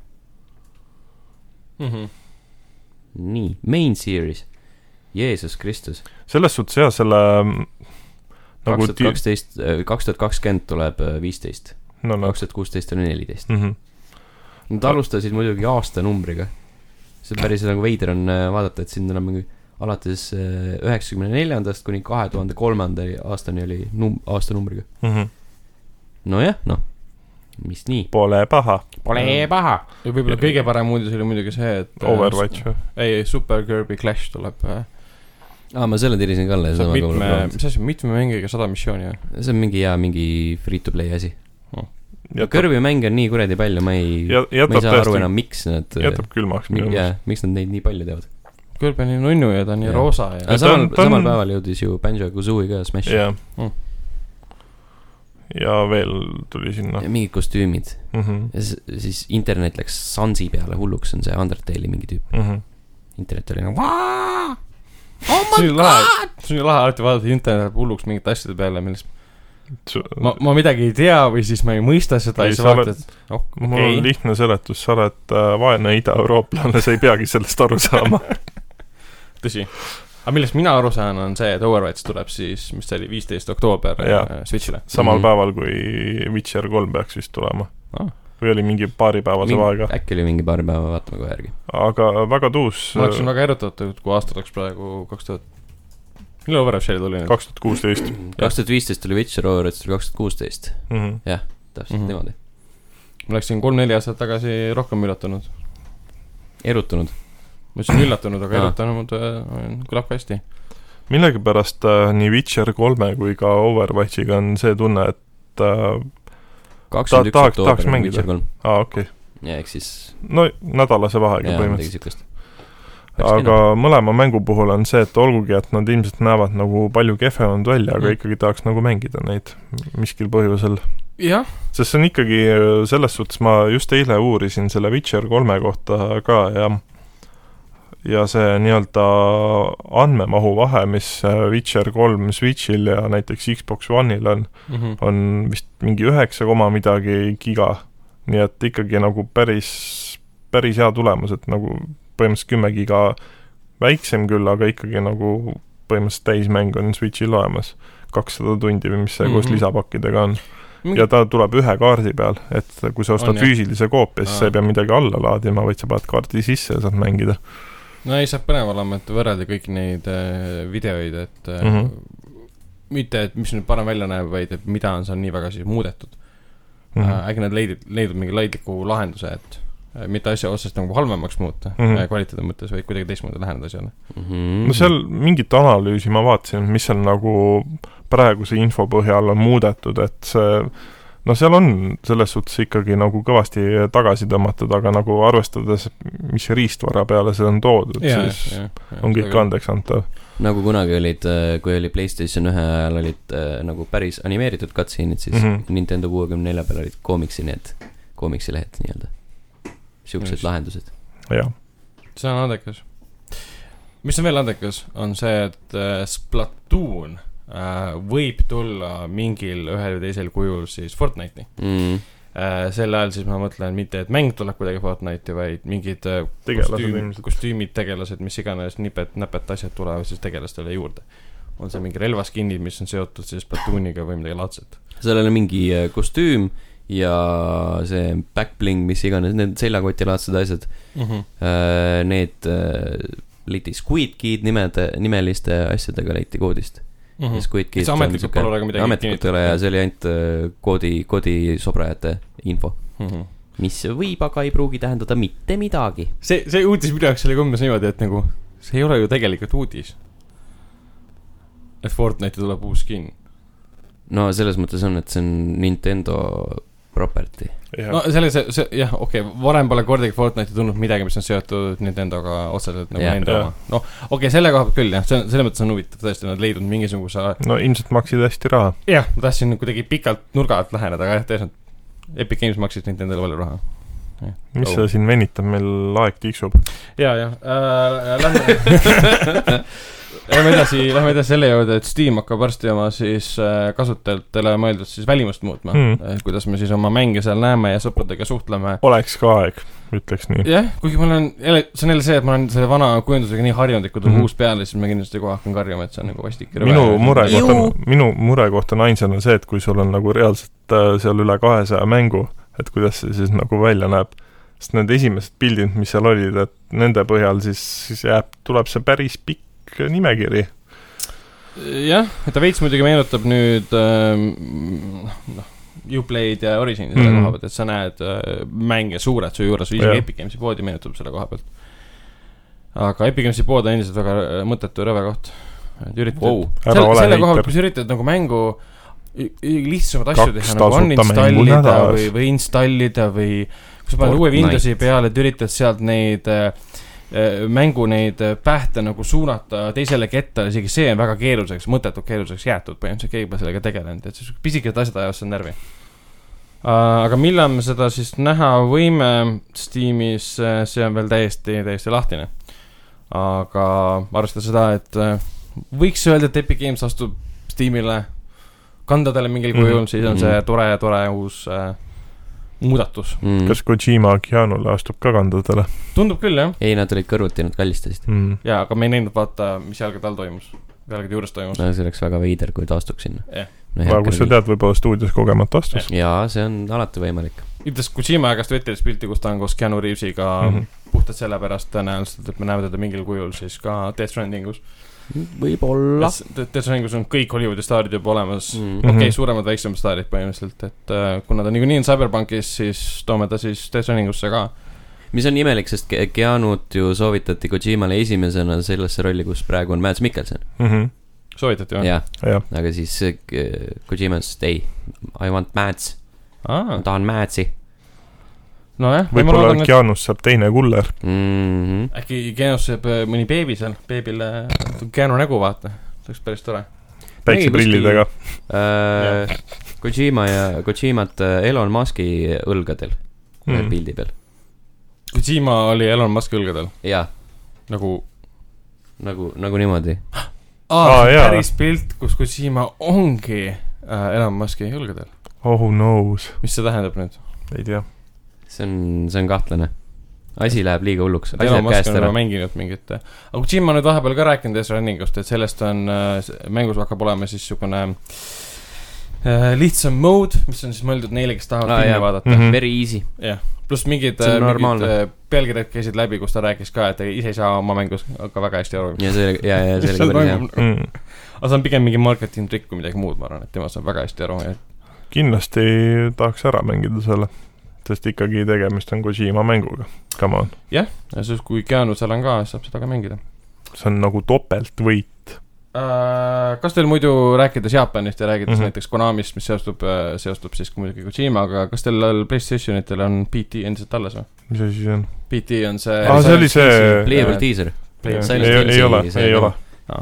mm . -hmm. nii , main series , Jeesus Kristus , selles suhtes jah , selle mm, kaks nagu tuhat kaksteist , kaks tuhat kakskümmend tuleb äh, viisteist , ti- no, no. kaks tuhat kuusteist oli neliteist . Mm -hmm. Nad alustasid muidugi aastanumbriga , see on päris nagu veider on äh, vaadata , et siin enam mingi alates äh, üheksakümne neljandast kuni kahe tuhande kolmanda aastani oli num- , aastanumbriga . Mm -hmm. nojah , noh , mis nii , Pole paha , Pole e paha . Äh, ja võib-olla kõige parem uudis oli muidugi see , et . äh, Overwatch või ? ei , ei Super Kirby Clash tuleb . äh, aa , ma selle tirisin ka alles . mitme , mis asi , mitme mängiga sada missiooni või ? see on mingi hea , mingi free to play asi . jätab , kõrvimänge on nii kuradi palju , ma ei , ma jätab ei saa aru tõesti , enam , miks nad , jätab külmaks minu meelest . jaa , miks nad neid nii palju teevad . Kirby on nii nunnu ja ta on nii Jah. roosa ja aga ta samal on- , ta on- samal päeval jõudis ju Banjo ja Kazooie ka Smashi jah . Mm. ja veel tuli sinna ja . mingid kostüümid . mm . -hmm. ja s- siis internet läks Sansi peale hulluks , on see Undertale'i mingi tüüp . Mm -hmm. internet oli nagu , Oh see on nii lahe , see on nii lahe alati vaadata internetis hulluks mingite asjade peale , millest ma , ma midagi ei tea või siis ma ei mõista seda Ei, ja siis sa vaatad , oh , mul on okei . lihtne seletus , sa oled äh, vaene idaeurooplane , sa ei peagi sellest aru saama . tõsi . aga millest mina aru saan , on see , et Overwatch tuleb siis , mis see oli , viisteist oktoober Jaa. äh, Switch'ile . samal Mhm. mm -hmm. päeval , kui Witcher kolm peaks vist tulema Ah. ah. . või oli mingi paaripäevase Ming... vaega , äkki oli mingi paar päeva , vaatame kohe järgi . aga väga tuus . äh, ma oleksin väga erutatud , kui aasta oleks praegu kaks tuhat , millal Overwatchile tuli nüüd ? kaks tuhat kuusteist . kaks tuhat viisteist oli Witcher , Overwatch tuli kaks tuhat kuusteist , täpselt mm Mhm. -hmm. niimoodi . ma oleksin kolm-neli aastat tagasi rohkem üllatunud . erutunud . ma ütlesin üllatunud , aga Aa. erutanud äh, kõlab ka hästi . millegipärast äh, nii Witcher kolme kui ka Overwatchiga on see tunne , et äh, kakskümmend üks tahaks- tahaks oktoober on mängida. Witcher kolm . aa , okei okay. , ja ehk siis , no nädalase vahega jaa , midagi põhimõtteliselt . siukest . aga mõlema mängu puhul on see , et olgugi , et nad ilmselt näevad nagu palju kehvemad välja , aga Mhm. ikkagi tahaks nagu mängida neid miskil põhjusel . jah , sest see on ikkagi , selles suhtes ma just eile uurisin selle Witcher kolme kohta ka ja ja see nii-öelda andmemahu vahe , mis Witcher kolm Switchil ja näiteks Xbox One'il on , Mhm. on vist mingi üheksa koma midagi giga . nii et ikkagi nagu päris , päris hea tulemus , et nagu põhimõtteliselt kümme giga väiksem küll , aga ikkagi nagu põhimõtteliselt täismäng on Switchil olemas . kakssada tundi või mis see koos Mhm. lisapakkidega on . Mingi- ja ta tuleb ühe kaardi peal , et kui sa ostad On, jah. füüsilise koopia , siis sa Aa. ei pea midagi alla laadima , vaid sa paned kaardi sisse ja saad mängida . no ei , saab põnev olema , et võrrelda kõiki neid äh, videoid , et äh, mm Mhm. -hmm. mitte , et mis nüüd parem välja näeb , vaid et Mhm. Äh, mida on seal nii väga siis muudetud mm . -hmm. äkki nad leidid , leidnud mingi laidliku lahenduse , et mitte asja otsast nagu halvemaks muuta mm Mhm. -hmm. kvaliteedi mõttes , vaid kuidagi teistmoodi läheneda asjale . Mhm. no seal mingit analüüsi ma vaatasin , mis seal nagu praeguse info põhjal on muudetud , et see no seal on selles suhtes ikkagi nagu kõvasti tagasi tõmmatud , aga nagu arvestades , mis riistvara peale see on toodud , siis on kõik . andeks antav . nagu kunagi olid , kui oli Playstation ühe ajal olid äh, nagu päris animeeritud cutscene'id , siis mm Mhm. -hmm. Nintendo kuuekümne nelja peal olid koomiksi need , koomiksilehed nii-öelda . Siuksed Just. lahendused . jah , see on andekas . mis on veel andekas , on see , et äh, Splatoon äh, võib tulla mingil ühel või teisel kujul siis Fortnite'i . Mm. Äh, sel ajal siis ma mõtlen mitte , et mäng tuleb kuidagi Fortnite'i , vaid mingid äh, Tegelased kostüüm- ilmselt. kostüümid , tegelased , mis iganes nipet-näpet asjad tulevad siis tegelastele juurde . on see mingi relvaskinid , mis on seotud siis platooniga või midagi laadset . sellel on mingi äh, kostüüm ja see backbling , mis iganes , need seljakotilaadsed asjad , Mhm. need äh, leiti Squid Kid nimede , nimeliste asjadega leiti koodist . ja Squid Kid Kas ametlikult Mhm. pole väga midagi ametlikult ei ole ja see oli ainult äh, koodi , koodi sobrajate info . Mhm. mis võib , aga ei pruugi tähendada mitte midagi . see , see uudis minu jaoks oli ka umbes niimoodi , et nagu see ei ole ju tegelikult uudis . et Fortnite'i tuleb uus skin . no selles mõttes on , et see on Nintendo property . jah no . selle , see , see jah , okei okay, , varem pole kordagi Fortnite'i tulnud midagi , mis on seotud Nintendoga otseselt nagu Jah. nende Jah. oma . noh , okei okay, , selle koha pealt küll jah , see on , selles mõttes on huvitav tõesti , nad leidnud mingisuguse , no ilmselt maksid hästi raha . jah , ma tahtsin kuidagi pikalt nurga alt läheneda , aga jah , tõesti , Epic Games maksis Nintendole palju raha . mis Oh. oh. siin venitab , meil aeg tiksub . ja , ja äh, , lähme Lähme edasi , lähme edasi selle juurde , et Steam hakkab varsti oma siis äh, kasutajatele mõeldud siis välimust muutma Mm. mm. . kuidas me siis oma mänge seal näeme ja sõpradega suhtleme . oleks ka aeg , ütleks nii . jah , kuigi ma olen jälle , see on jälle see , et ma olen selle vana kujundusega nii harjunud , et kui tuleb mm Mhm. -hmm. uus peale , siis ma kindlasti kohe hakkan karjuma , et see on nagu vastik ja rõve . minu murekoht Ju- on , minu murekoht on ainsana see , et kui sul on nagu reaalselt äh, seal üle kahesaja mängu , et kuidas see siis nagu välja näeb . sest need esimesed pildid , mis seal olid , et nende põhjal siis , siis jääb , tuleb see päris pikk nimekiri . Mm. Äh, jah , ta veits muidugi meenutab nüüd ähm, noh , Uplay'd ja Origin'i selle Mhm. koha pealt , et sa näed äh, mänge suured su juures , isegi Jah. Epic Games'i poodi meenutab selle koha pealt . aga Epic Games'i pood on endiselt väga äh, mõttetu ja rõve koht . et üritad Wow. wow. , Ära selle, ole selle koha heiter. pealt , kui sa üritad nagu mängu ü- ü- lihtsamaid asju Kaks teha , nagu tasuta on mängu installida nädalas. või , või installida või kui sa paned uue Fortnite. Windowsi peale , et üritad sealt neid äh, äh, mängu neid äh, pähte nagu suunata teisele kettale , isegi see on väga keeruliseks , mõttetult keeruliseks jäetud , põhimõtteliselt keegi pole sellega tegelenud , et siis pisikesed asjad ajavad sind närvi . aga millal me seda siis näha võime Steamis , see on veel täiesti , täiesti lahtine . aga arvestades seda , et äh, võiks öelda , et Epic Games astub Steamile kandadele mingil Mhm. kujul , siis on see Mhm. tore , tore uus äh, muudatus . Mm. kas Kojima Keanule astub ka kandadele tundub küll , jah . ei , nad olid kõrvuti , nad kallistasid . mm. ? jaa , aga me ei näinud , vaata , mis jalgade all toimus , jalgade juures toimus . no see oleks väga veider , kui ta astuks sinna Jah. . aga kust sa tead , võib-olla stuudios kogemata astus . jaa , see on alati võimalik . ütles Kojima käest vetelis pilti , kus ta on koos Keanu Reaves'iga mm Mhm. -hmm. puhtalt sellepärast tõenäoliselt , et me näeme teda mingil kujul siis ka Death Strandingus . võib-olla . Death Strandingus on kõik Hollywoodi staarid juba olemas mm . Mm. -hmm. okei okay, , Mhm. suuremad , väiksemad staarid põhimõtteliselt , et äh, kuna ta niikuinii on Cyberpunkis , siis toome ta siis Death Strandingusse ka . mis on imelik , sest Ke- Keanut ju soovitati Kojimale esimesena sellesse rolli , kus praegu on Mads Mikkelson . Mhm. soovitati või ? jah , jah , aga siis eh, Ke- Kojima ütles , et ei , I want Mads , Ah. ma tahan Madsi nojah , ma võib-olla loodan , et Keanust saab teine kuller . mm . -hmm. äkki Keanus jääb äh, mõni beebi seal , beebile Keanu nägu vaata , see oleks päris tore . päikseprillidega . Äh, Kojima ja Kojimat äh, Elon Musk'i õlgadel mm. Mm. pildi peal . Kojima oli Elon Musk'i õlgadel jaa , nagu nagu , nagu niimoodi . aa Aa, ah, , jaa. päris pilt , kus Kojima ongi äh, Elon Musk'i julgedel . oh no's , mis see tähendab nüüd ? ei tea . see on , see on kahtlane . asi läheb liiga hulluks , asi Elon läheb Musk käest on nagu ära juba . mänginud mingit , aga Kojima on nüüd vahepeal ka rääkinud S-Running ust , et sellest on äh, , mängus hakkab olema siis niisugune äh, lihtsam mode , mis on siis mõeldud neile , kes tahavad Aa, ah, filme jaa. vaadata . Mhm. Very easy . jah , pluss mingid , See on mingid normaalne. äh, pealkirjad käisid läbi , kus ta rääkis ka , et ta ise ei saa oma mängus ka väga hästi aru . ja see , ja , ja see oli ka päris hea . aga Mm. see on pigem mingi marketing trikk kui midagi muud , ma arvan , et tema saab väga hästi aru , et kindlasti tahaks ära mängida selle . sest ikkagi tegemist on Kojima mänguga , come on . ja siis , kui Keanu seal on ka , saab seda ka mängida see on nagu topeltvõit . Äh, kas teil muidu , rääkides Jaapanist ja rääkides mm Mhm. -hmm. näiteks Konamist , mis seostub , seostub siis muidugi Kojimaga , kas teil all Playstationitel on PT endiselt alles või ? mis asi see on ? PT on see Aa, see oli see- Playable teaser , Silent ei , Hills ei ole , see- ei ole .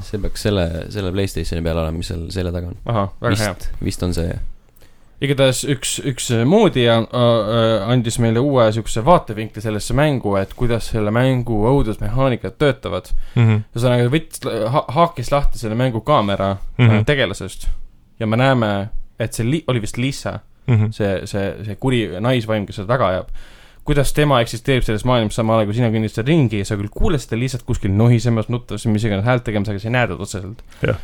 see peaks selle , selle Playstationi peal olema , mis seal selja taga on . ahah , väga hea . vist , vist on see . igatahes üks , üks moodija äh, andis meile uue siukse vaatevinkli sellesse mängu , et kuidas selle mängu õudusmehaanikad töötavad . Mhm, ühesõnaga , võttis ha , haakis lahti selle mängu kaamera mm mhm, -hmm. tegelasest ja me näeme , et see li- , oli vist Lisa , mhm, see , see , see kuri naisvaim , kes seda taga ajab , kuidas tema eksisteerib selles maailmas samal ajal , kui sina kõnnid seal ringi ja sa küll kuuled seda lihtsalt kuskil nohisemas , nutras , mis iganes häält tegemas , aga sa ei näe teda otseselt Jah. .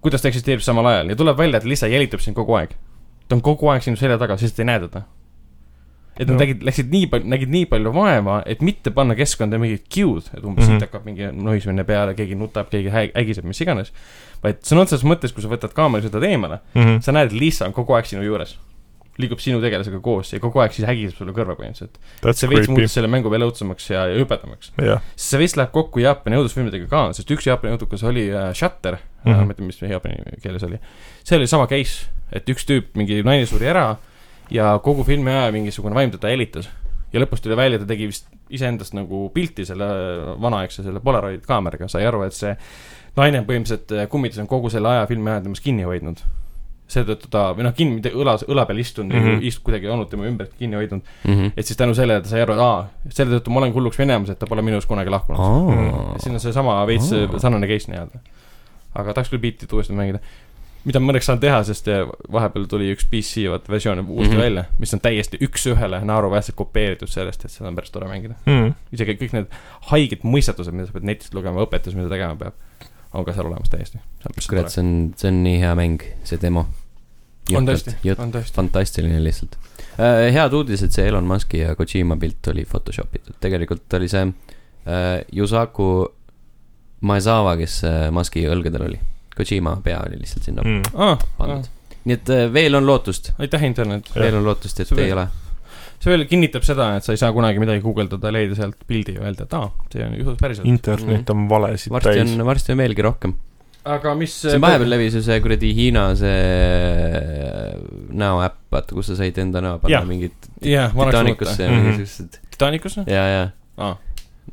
kuidas ta eksisteerib samal ajal ja tuleb välja , et Lisa jälitab sind kogu aeg . ta on kogu aeg sinu selja taga , sest sa ei näe teda . et nad No. no. nägid , läksid nii palju , nägid nii palju vaeva , et mitte panna keskkonda mingit cue'd , et Mhm. umbes mm -hmm. siit hakkab mingi nohisemine peale , keegi nutab , keegi hä- ägiseb , mis iganes . vaid sõna otseses mõttes , kui sa võtad kaamera ja sõidad eemale , mhm. sa näed , et Lisa on kogu aeg sinu juures . liigub sinu tegelasega koos ja kogu aeg siis hägiseb sulle kõrva põhimõtteliselt . That's see veits creepy muutis . selle mängu veel õudsemaks ja , ja hõbedamaks . jah , see veits läheb kokku Jaapani õudusfilmidega ka , sest üks Jaapani õudukas oli äh, Shutter mm , Mhm. -hmm. ma ei tea , mis see jaapani keeles oli . see oli sama case , et üks tüüp , mingi naine suri ära ja kogu filmi aja mingisugune vaim teda jälitas . ja lõpus tuli välja , ta tegi vist iseendast nagu pilti selle äh, vanaaegse , selle Polaroid kaameraga , sai aru , et see naine on põhimõtteliselt äh, kummitus on kogu selle aja filmi ajal temast kinni hoidnud . seetõttu ta , või noh , kinni , õlas , õla peal istunud mm , Mhm. -hmm. ist- kuidagi olnud tema ümbert kinni hoidnud , aa , et siis tänu sellele ta sai aru , et aa , selle tõttu ma olen hulluks Venemaas , et ta pole minust kunagi lahkunud . siin on seesama veits Aa. sarnane case nii-öelda . aga tahaks küll beat'it uuesti mängida . mida ma õnneks saan teha , sest eh, vahepeal tuli üks PC vaat versioon uuesti mm Mhm. -hmm. välja , mis on täiesti üks-ühele naeruväärselt kopeeritud sellest , et seda on päris tore mängida . mhm, isegi kõik need haiged mõistatused , mida sa pead netist lugema , õpetus , mida tegema peab , on ka seal olemas täiesti . kurat , see on , see on nii hea mäng , see demo . on tõesti , on tõesti . fantastiline lihtsalt . head uudised , see Elon Musk'i ja Kojima pilt oli Photoshop itud , tegelikult oli see äh, Yusaku Maezawa , kes äh, Musk'i õlgadel oli . Kojima pea oli lihtsalt sinna mhm. aa , pandud . nii et äh, veel on lootust , aitäh , internet . Mm. Jah. veel on lootust , et See ei veel- ole . see veel kinnitab seda , et sa ei saa kunagi midagi guugeldada , leida sealt pildi ja öelda , et aa , see on juhus päriselt . internet Mhm. on valesid varsti täis . on , varsti on veelgi rohkem . aga mis siin vahepeal levis ju see kuradi Hiina see näoäpp , vaata , kus sa said enda näo panna Jah. mingit jah , vanaks muuta . Titanicusse ja mingi Mhm. siuksed , Titanicusse ? ja , ja Aa. .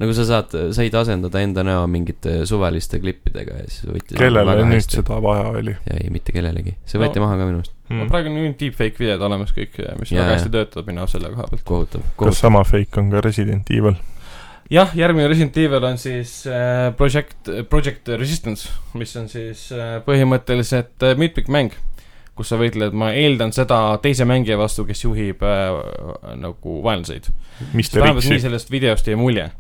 nagu sa saad , said asendada enda näo mingite suvaliste klippidega ja siis võttis . kellele nüüd ? seda vaja oli ? Mhm. ei , mitte kellelegi , see võeti no. maha ka minu meelest , no praegu on ju deepfake videod olemas kõik , mis Jaa, yeah. jaa. väga hästi töötab minu arust selle koha pealt . kohutav , kas kohutav . sama fake on ka Resident Evil ? jah , järgmine Resident Evil on siis äh, Project , Project Resistance , mis on siis äh, põhimõtteliselt äh, mitmikmäng , kus sa võitled , ma eeldan seda teise mängija vastu , kes juhib äh, nagu vaenlaseid . Mr vähemalt nii X-i . sellest videost jäi mulje .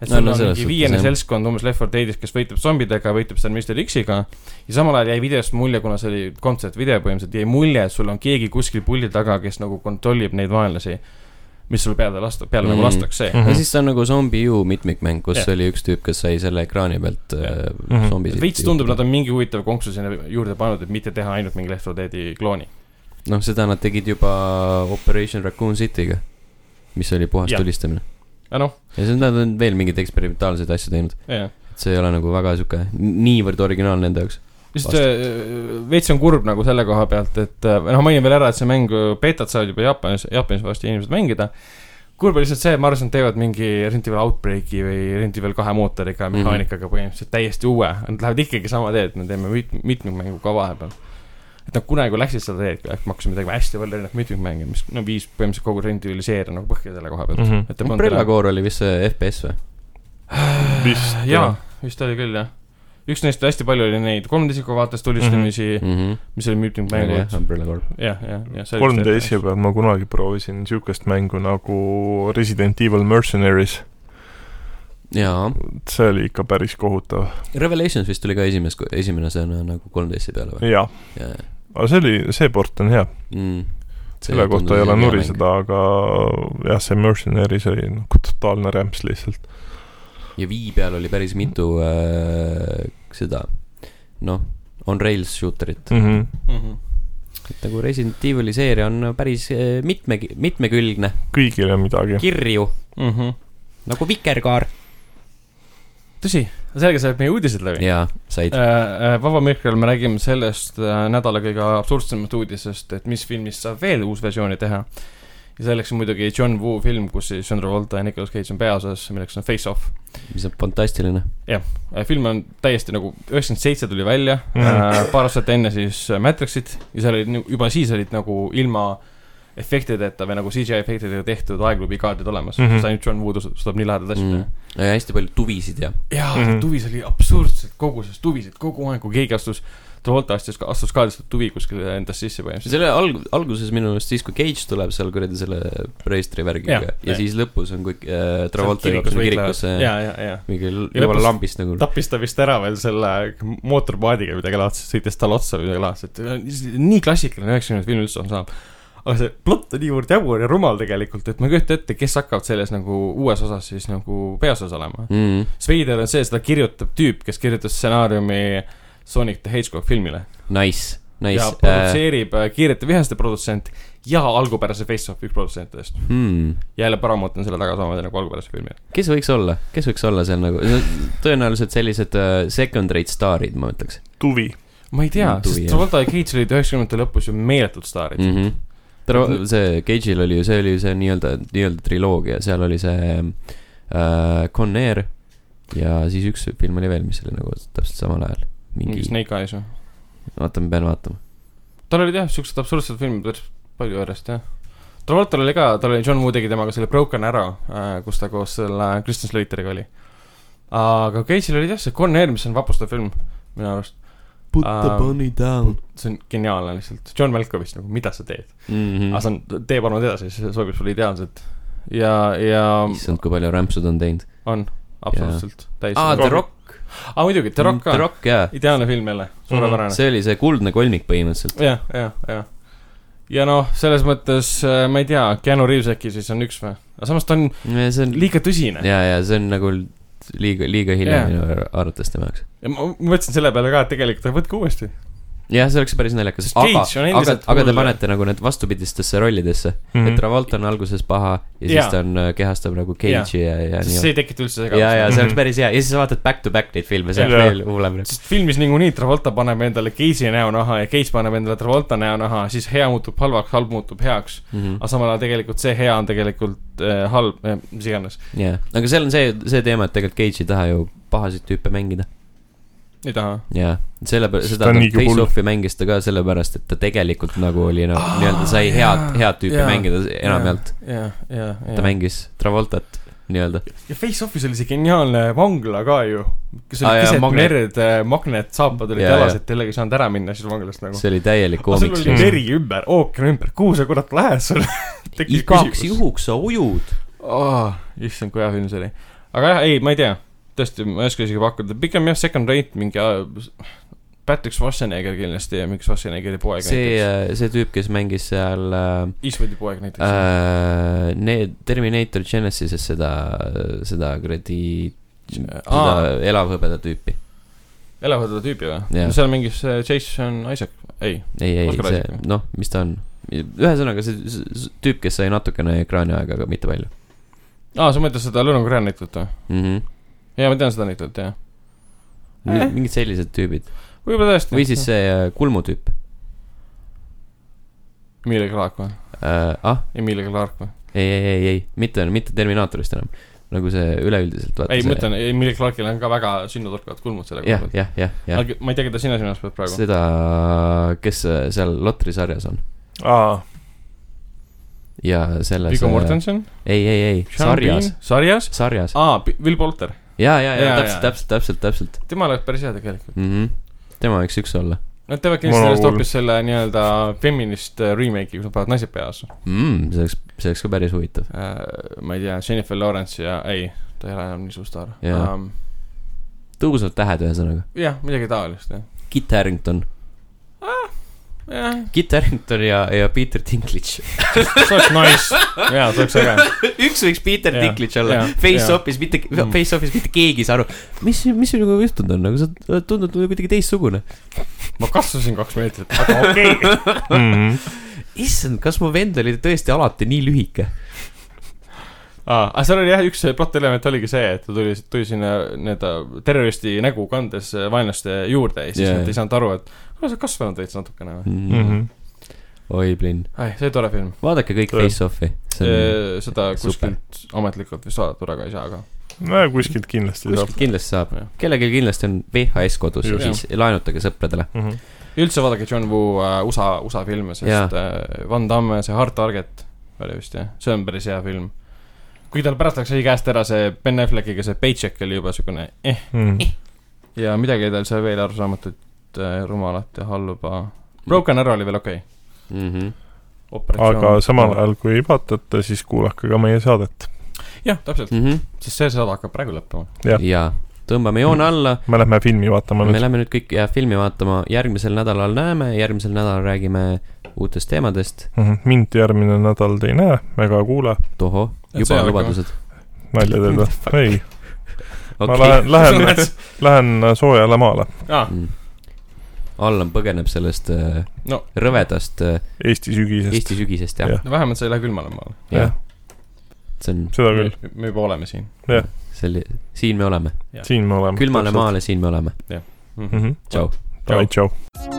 et No, sul no no, on selles mingi suhtes, viiene jah. seltskond umbes Left 4 Dead'is , kes võitleb zombidega , võitleb seal Mr X-iga ja samal ajal jäi videost mulje , kuna see oli kontsertvideo põhimõtteliselt , jäi mulje , et sul on keegi kuskil puldi taga , kes nagu kontrollib neid vaenlasi , mis sul peale lasta , peale mm. Mhm. nagu lastakse mm. . no Mhm. siis see on nagu Zombie U mitmikmäng , kus Jah. yeah. oli üks tüüp , kes sai selle ekraani pealt yeah. Jah. äh, Mhm. zombisid . veits tundub , nad on mingi huvitava konksu sinna juurde pannud , et mitte teha ainult mingi Left 4 Dead'i klooni . noh , seda nad tegid juba Operation Raccoon City'ga , mis oli puhas Jah. tulistamine . aga noh , ja siis nad on veel mingeid eksperimentaalseid asju teinud , jah . et see ei ole nagu väga sihuke niivõrd originaalne enda jaoks . lihtsalt äh, veits on kurb nagu selle koha pealt , et äh, noh , mainin veel ära , et see mäng , beetat saavad juba Jaapanis , Jaapanis varsti inimesed mängida . kurb on lihtsalt see , ma arvan , et nad teevad mingi Resident Evil Outbreaki või Resident Evil kahe mootoriga , Mhm. mehaanikaga põhimõtteliselt täiesti uue . Nad lähevad ikkagi sama teed , et me teeme mit- , mitmikmängu ka vahepeal . et nad kunagi läksid seda teed , et me hakkasime tegema hästi palju erinevaid mitmikmänge , mis no viis põhimõtteliselt kogu Resident Evil'i seeria nagu põhja selle koha pealt . et ta Umbrella Core oli vist see FPS või ? vist jaa , vist oli küll jah . üks neist hästi palju oli neid kolmteist isiku vaates tulistamisi mm , Mhm. -hmm. mis oli mitmikmängud . Umbrella Core . jah , jah , jah , see oli 3DS-i . peal ma kunagi proovisin niisugust mängu nagu Resident Evil Mercenaries . jaa , see oli ikka päris kohutav . Revelations vist tuli ka esimes , esimene sõna nagu 3DS-i peale või ? jaa , jaa , aga see oli , see port on hea . mm. . nagu selle kohta ei ole nuriseda , aga jah , see Mercenaries oli nagu totaalne rämps lihtsalt . ja vii peal oli päris mitu äh, seda , noh , on rails shooter'it . Mm -hmm. mm . -hmm. et nagu Resident Evil'i seeria on päris eh, mitme , mitmekülgne , kõigile midagi . kirju , mm . -hmm. nagu vikerkaar . tõsi , sellega said meie uudised läbi . jaa , said . Vaba Mihkel , me räägime sellest äh, nädala kõige absurdsemast uudisest , et mis filmist saab veel uus versiooni teha . ja selleks on muidugi John Woo film , kus siis John Travolta ja Nicolas Cage on peaosas , milleks on Face Off . mis on fantastiline . Äh, film on täiesti nagu , üheksakümmend seitse tuli välja Mhm. mm. , äh, paar aastat enne siis äh, Matrixit ja seal olid , juba siis olid nagu ilma efektideta või nagu CGI efektidega tehtud aeglubi kaardid olemas mm , Mhm. -hmm. ainult John Woo tus- suudab nii lahedaid asju teha Mm. mm. . ja hästi palju tuvisid ja jaa mm , Mhm. -hmm. tuvis oli absurdselt koguses , tuvisid kogu aeg , kui keegi astus , Travolta astus , astus kaardistud tuvi kuskile endast sisse põhimõtteliselt . selle alg- , alguses minu meelest siis , kui Cage tuleb seal kuradi selle preestri värgiga Jah, ja, ja jah. siis lõpus on , kui äh, Travolta jõuab sinna kirikusse ja , ja , ja mingi l- Ja jumala lõpus- lambist nagu . tappis ta vist ära veel selle mootorpaadiga või midagi laadset , sõitis talle otsa või midagi laadset . nii klassikaline üheksakümnendate film üldse on saab . aga see plott on niivõrd jabur ja rumal tegelikult , et ma ei kujuta ette , kes hakkavad selles nagu uues osas siis nagu peaosas olema . Mm. Sveider on see , seda kirjutab tüüp , kes kirjutas stsenaariumi Sonic the Hedgehog filmile Nice , nice ja . produtseerib äh, Kiirete vihaste produtsent ja algupärase Face-Off üks produtsentidest . Hmm. jälle Paramount on selle taga samamoodi nagu algupärase filmi . kes võiks olla , kes võiks olla seal nagu , tõenäoliselt sellised uh, second-rate staarid , ma ütleks tuvi . ma ei tea , Tuvi, sest jah. Travolta ja Cage olid üheksakümnendate lõpus ju meeletud staarid mm . -hmm. Mhm. Tra- , see Cage'il oli ju , see oli ju see nii-öelda , nii-öelda triloogia , seal oli see uh, Con Air ja siis üks film oli veel , mis oli nagu täpselt samal ajal . mingi mingi , Snake Eyes või ? oota , ma pean vaatama . tal olid jah , siuksed absurdsed filmid päris palju järjest jah . Travoltal oli ka , tal oli John Woo tegi temaga selle Broken Arrow äh, , kus ta koos selle äh, Kristen Slateriga oli . aga Cage'il oli jah see Con Air , mis on vapustav film minu arust . Put the Um, bunny down. see on geniaalne lihtsalt , John Malkovich nagu , mida sa teed mm. , mm . aga see on , tee palun edasi , see sobib sulle ideaalselt . ja , ja issand , kui palju rämpsud on teinud . on absoluutselt täis . aa , The Rock . aa muidugi , The Rock The ka , Rock , Mm, jaa . ideaalne film jälle , suurepärane . see oli see kuldne kolmik põhimõtteliselt . jah , jah , jah . ja noh , selles mõttes äh, ma ei tea , Keanu Reaves äkki siis on üks või ? aga samas ta on see on liiga tõsine . ja , ja see on nagu liiga , liiga hilja Jaa. yeah. minu ar- arvates tema jaoks . ja ma ma mõtlesin selle peale ka , et tegelikult võtke uuesti . jah , see oleks päris naljakas , Sest aga Cage , on aga endiselt , aga te hull. panete nagu need vastupidistesse rollidesse mm , Mhm. -hmm. et Travolta on alguses paha ja siis Jaa. ta on , kehastab nagu Cage'i ja , ja sest see nii . ei tekita üldse ja , ja segadust . see oleks Mhm. päris hea ja siis sa vaatad back to back neid filme , see on Jaa. veel hullem . sest filmis niikuinii Travolta paneb endale Cage'i näo naha ja Cage paneb endale Travolta näo naha , siis hea muutub halvaks , halb muutub heaks . Mhm. aga samal ajal tegelikult see hea on tegelikult äh, halb äh, , mis iganes . jah , aga seal on see , see teema , et tegelikult Cage ei taha ju pahasid tüüpe mängida . ei taha . jaa , selle , Sest seda ta on ta niigi hull. Face-Offi mängis ta ka sellepärast , et ta tegelikult nagu oli nagu Aa, nii-öelda sai head , Ah, jaa, head tüüpi jaa, mängida enamjaolt . jah , jah , ta jah . mängis Travoltat nii-öelda . ja Face-Offis oli see geniaalne vangla ka ju , kus Aa, oli jaa, keset magnet. merd , magnet , saapad olid Jaa, jalas , jaa. et jällegi ei saanud ära minna siis vanglast nagu . see oli täielik aga sul koomiks oli Mm. . veri ümber , ookean ümber , kuhu sa kurat lähed sul ? igaks . juhuks sa ujud . issand , kui hea film see oli . aga jah , ei , ma ei tea , tõesti , ma ei oska isegi pakkuda , pigem jah , second rate mingi äh, Patrick Schwarzenegger kindlasti ja mingi Schwarzeneggeri poeg see äh, näiteks ., see tüüp , kes mängis seal äh, Eastwoodi poeg näiteks äh, . äh, ne- Terminator Genesis'es seda , seda kuradi , seda elavhõbeda tõipi . elavad seda tüüpi või Jah. ? seal mängis äh, Jason Isaac , ei , ei , ei , Oscar see Isaac, , noh , mis ta on ? ühesõnaga , see s- s- tüüp , kes sai natukene ekraaniaega , aga mitte palju aa , Ah, sa mõtled seda Lõuna Korea näitlejat või ? mm . -hmm. jaa , ma tean seda näitlejat , jah . Eh. mingid sellised tüübid võib-olla tõesti . või siis see äh, Kulmu tüüp Emilia Clarke või ? äh, . ah , Emilia Clarke või ? ei , ei , ei , ei , mitte , mitte Terminaatorist enam , nagu see üleüldiselt . ei , ma ütlen , Emilia Clarke'il on ka väga sünnutorkavad kulmud selle koha jah , pealt . jah , jah , jah . aga ma ei tea , keda sina silmas pead praegu . seda , kes äh, seal Lotri sarjas on aa , ja selles . Viggo Mortensen , ei , ei , ei , Sean sarjas Bean ,, Ah. sarjas , sarjas . aa , Will Bolter , ja , ja , ja Jaa, täpselt , jaa. täpselt , täpselt , täpselt tema oleks päris hea tegelikult . mm . -hmm. tema võiks üks olla Nad teevad kindlasti Mul on sellest hull. hoopis selle nii-öelda feminist äh, remake'i , kus nad panevad naised peas äh, . mm, . see oleks , see oleks ka päris huvitav . ma ei tea , Jennifer Lawrence ja ei , ta ei ole enam nii suur staar Jaa. um, . tõusvad tähed , ühesõnaga . jah , midagi taolist jah , Kit Harington , jah , Kit Harington ja , ja Peter Dinklage . see oleks nice , jaa , see oleks äge . üks võiks Peter Jaa, Dinklage olla jaa, , Face-Offis mitte , Mm. Nagu Face-Offis mitte keegi ei saa aru , mis , mis sinuga juhtunud on , nagu sa tundud kuidagi teistsugune . ma kasvasin kaks meetrit , aga okei okay. . mm . -hmm. issand , kas mu vend oli tõesti alati nii lühike ? aa , aga seal oli jah , üks plott element oligi see , et ta tuli , tuli sinna nii-öelda terroristi nägu kandes vaenlaste juurde ja siis Jaa, yeah. jaa. nad ei saanud aru , et kuule , sa kasvanud veits natukene või . Mm -hmm. oi , Blin , ai , see oli tore film . vaadake kõik Tõe. Face Offi . seda super. kuskilt ametlikult vist vaadata praegu ei saa , aga no kuskilt kindlasti saab . kuskilt kindlasti saab Jah. , kellelgi kindlasti on VHS kodus ja Äh, Just. siis laenutage sõpradele . Mm -hmm. ja üldse vaadake John Woo äh, USA , USA filme , Jaa. sest äh, Van Damme , see Hard Target oli vist jah , see on päris hea film . kui tal pärast läks asi käest ära , see Ben Affleckiga see Paycheck oli juba siukene eh. Mm -hmm. ja midagi oli tal seal veel arusaamatut äh, rumalat ja halba . Broken Arrow oli veel okei Mhm. okay. . aga samal . ajal , kui ibatate , siis kuulake ka meie saadet . jah , täpselt , sest see saade hakkab praegu lõppema . Jah. ja Mhm. tõmbame joone alla , me lähme filmi vaatama me nüüd . lähme nüüd kõik ja filmi vaatama , järgmisel nädalal näeme , järgmisel nädalal räägime uutest teemadest , Mm -hmm. mind järgmine nädal te ei näe ega kuule , tohoh , Et juba see aeg, lubadused . nalja teed või ? ei , ma okei , lähen , lähen , lähen äh, soojale maale , aa , Mm. Allan põgeneb sellest äh, No. rõvedast äh, Eesti sügisest . Eesti sügisest , jah Jah. no vähemalt sa ei lähe külmale maale . ja. jah , see on , seda küll , me juba oleme siin . selle , siin me oleme , siin me oleme . külmale . maale , siin me oleme , Mhm. Mm -hmm. tšau . tšau . Thank you.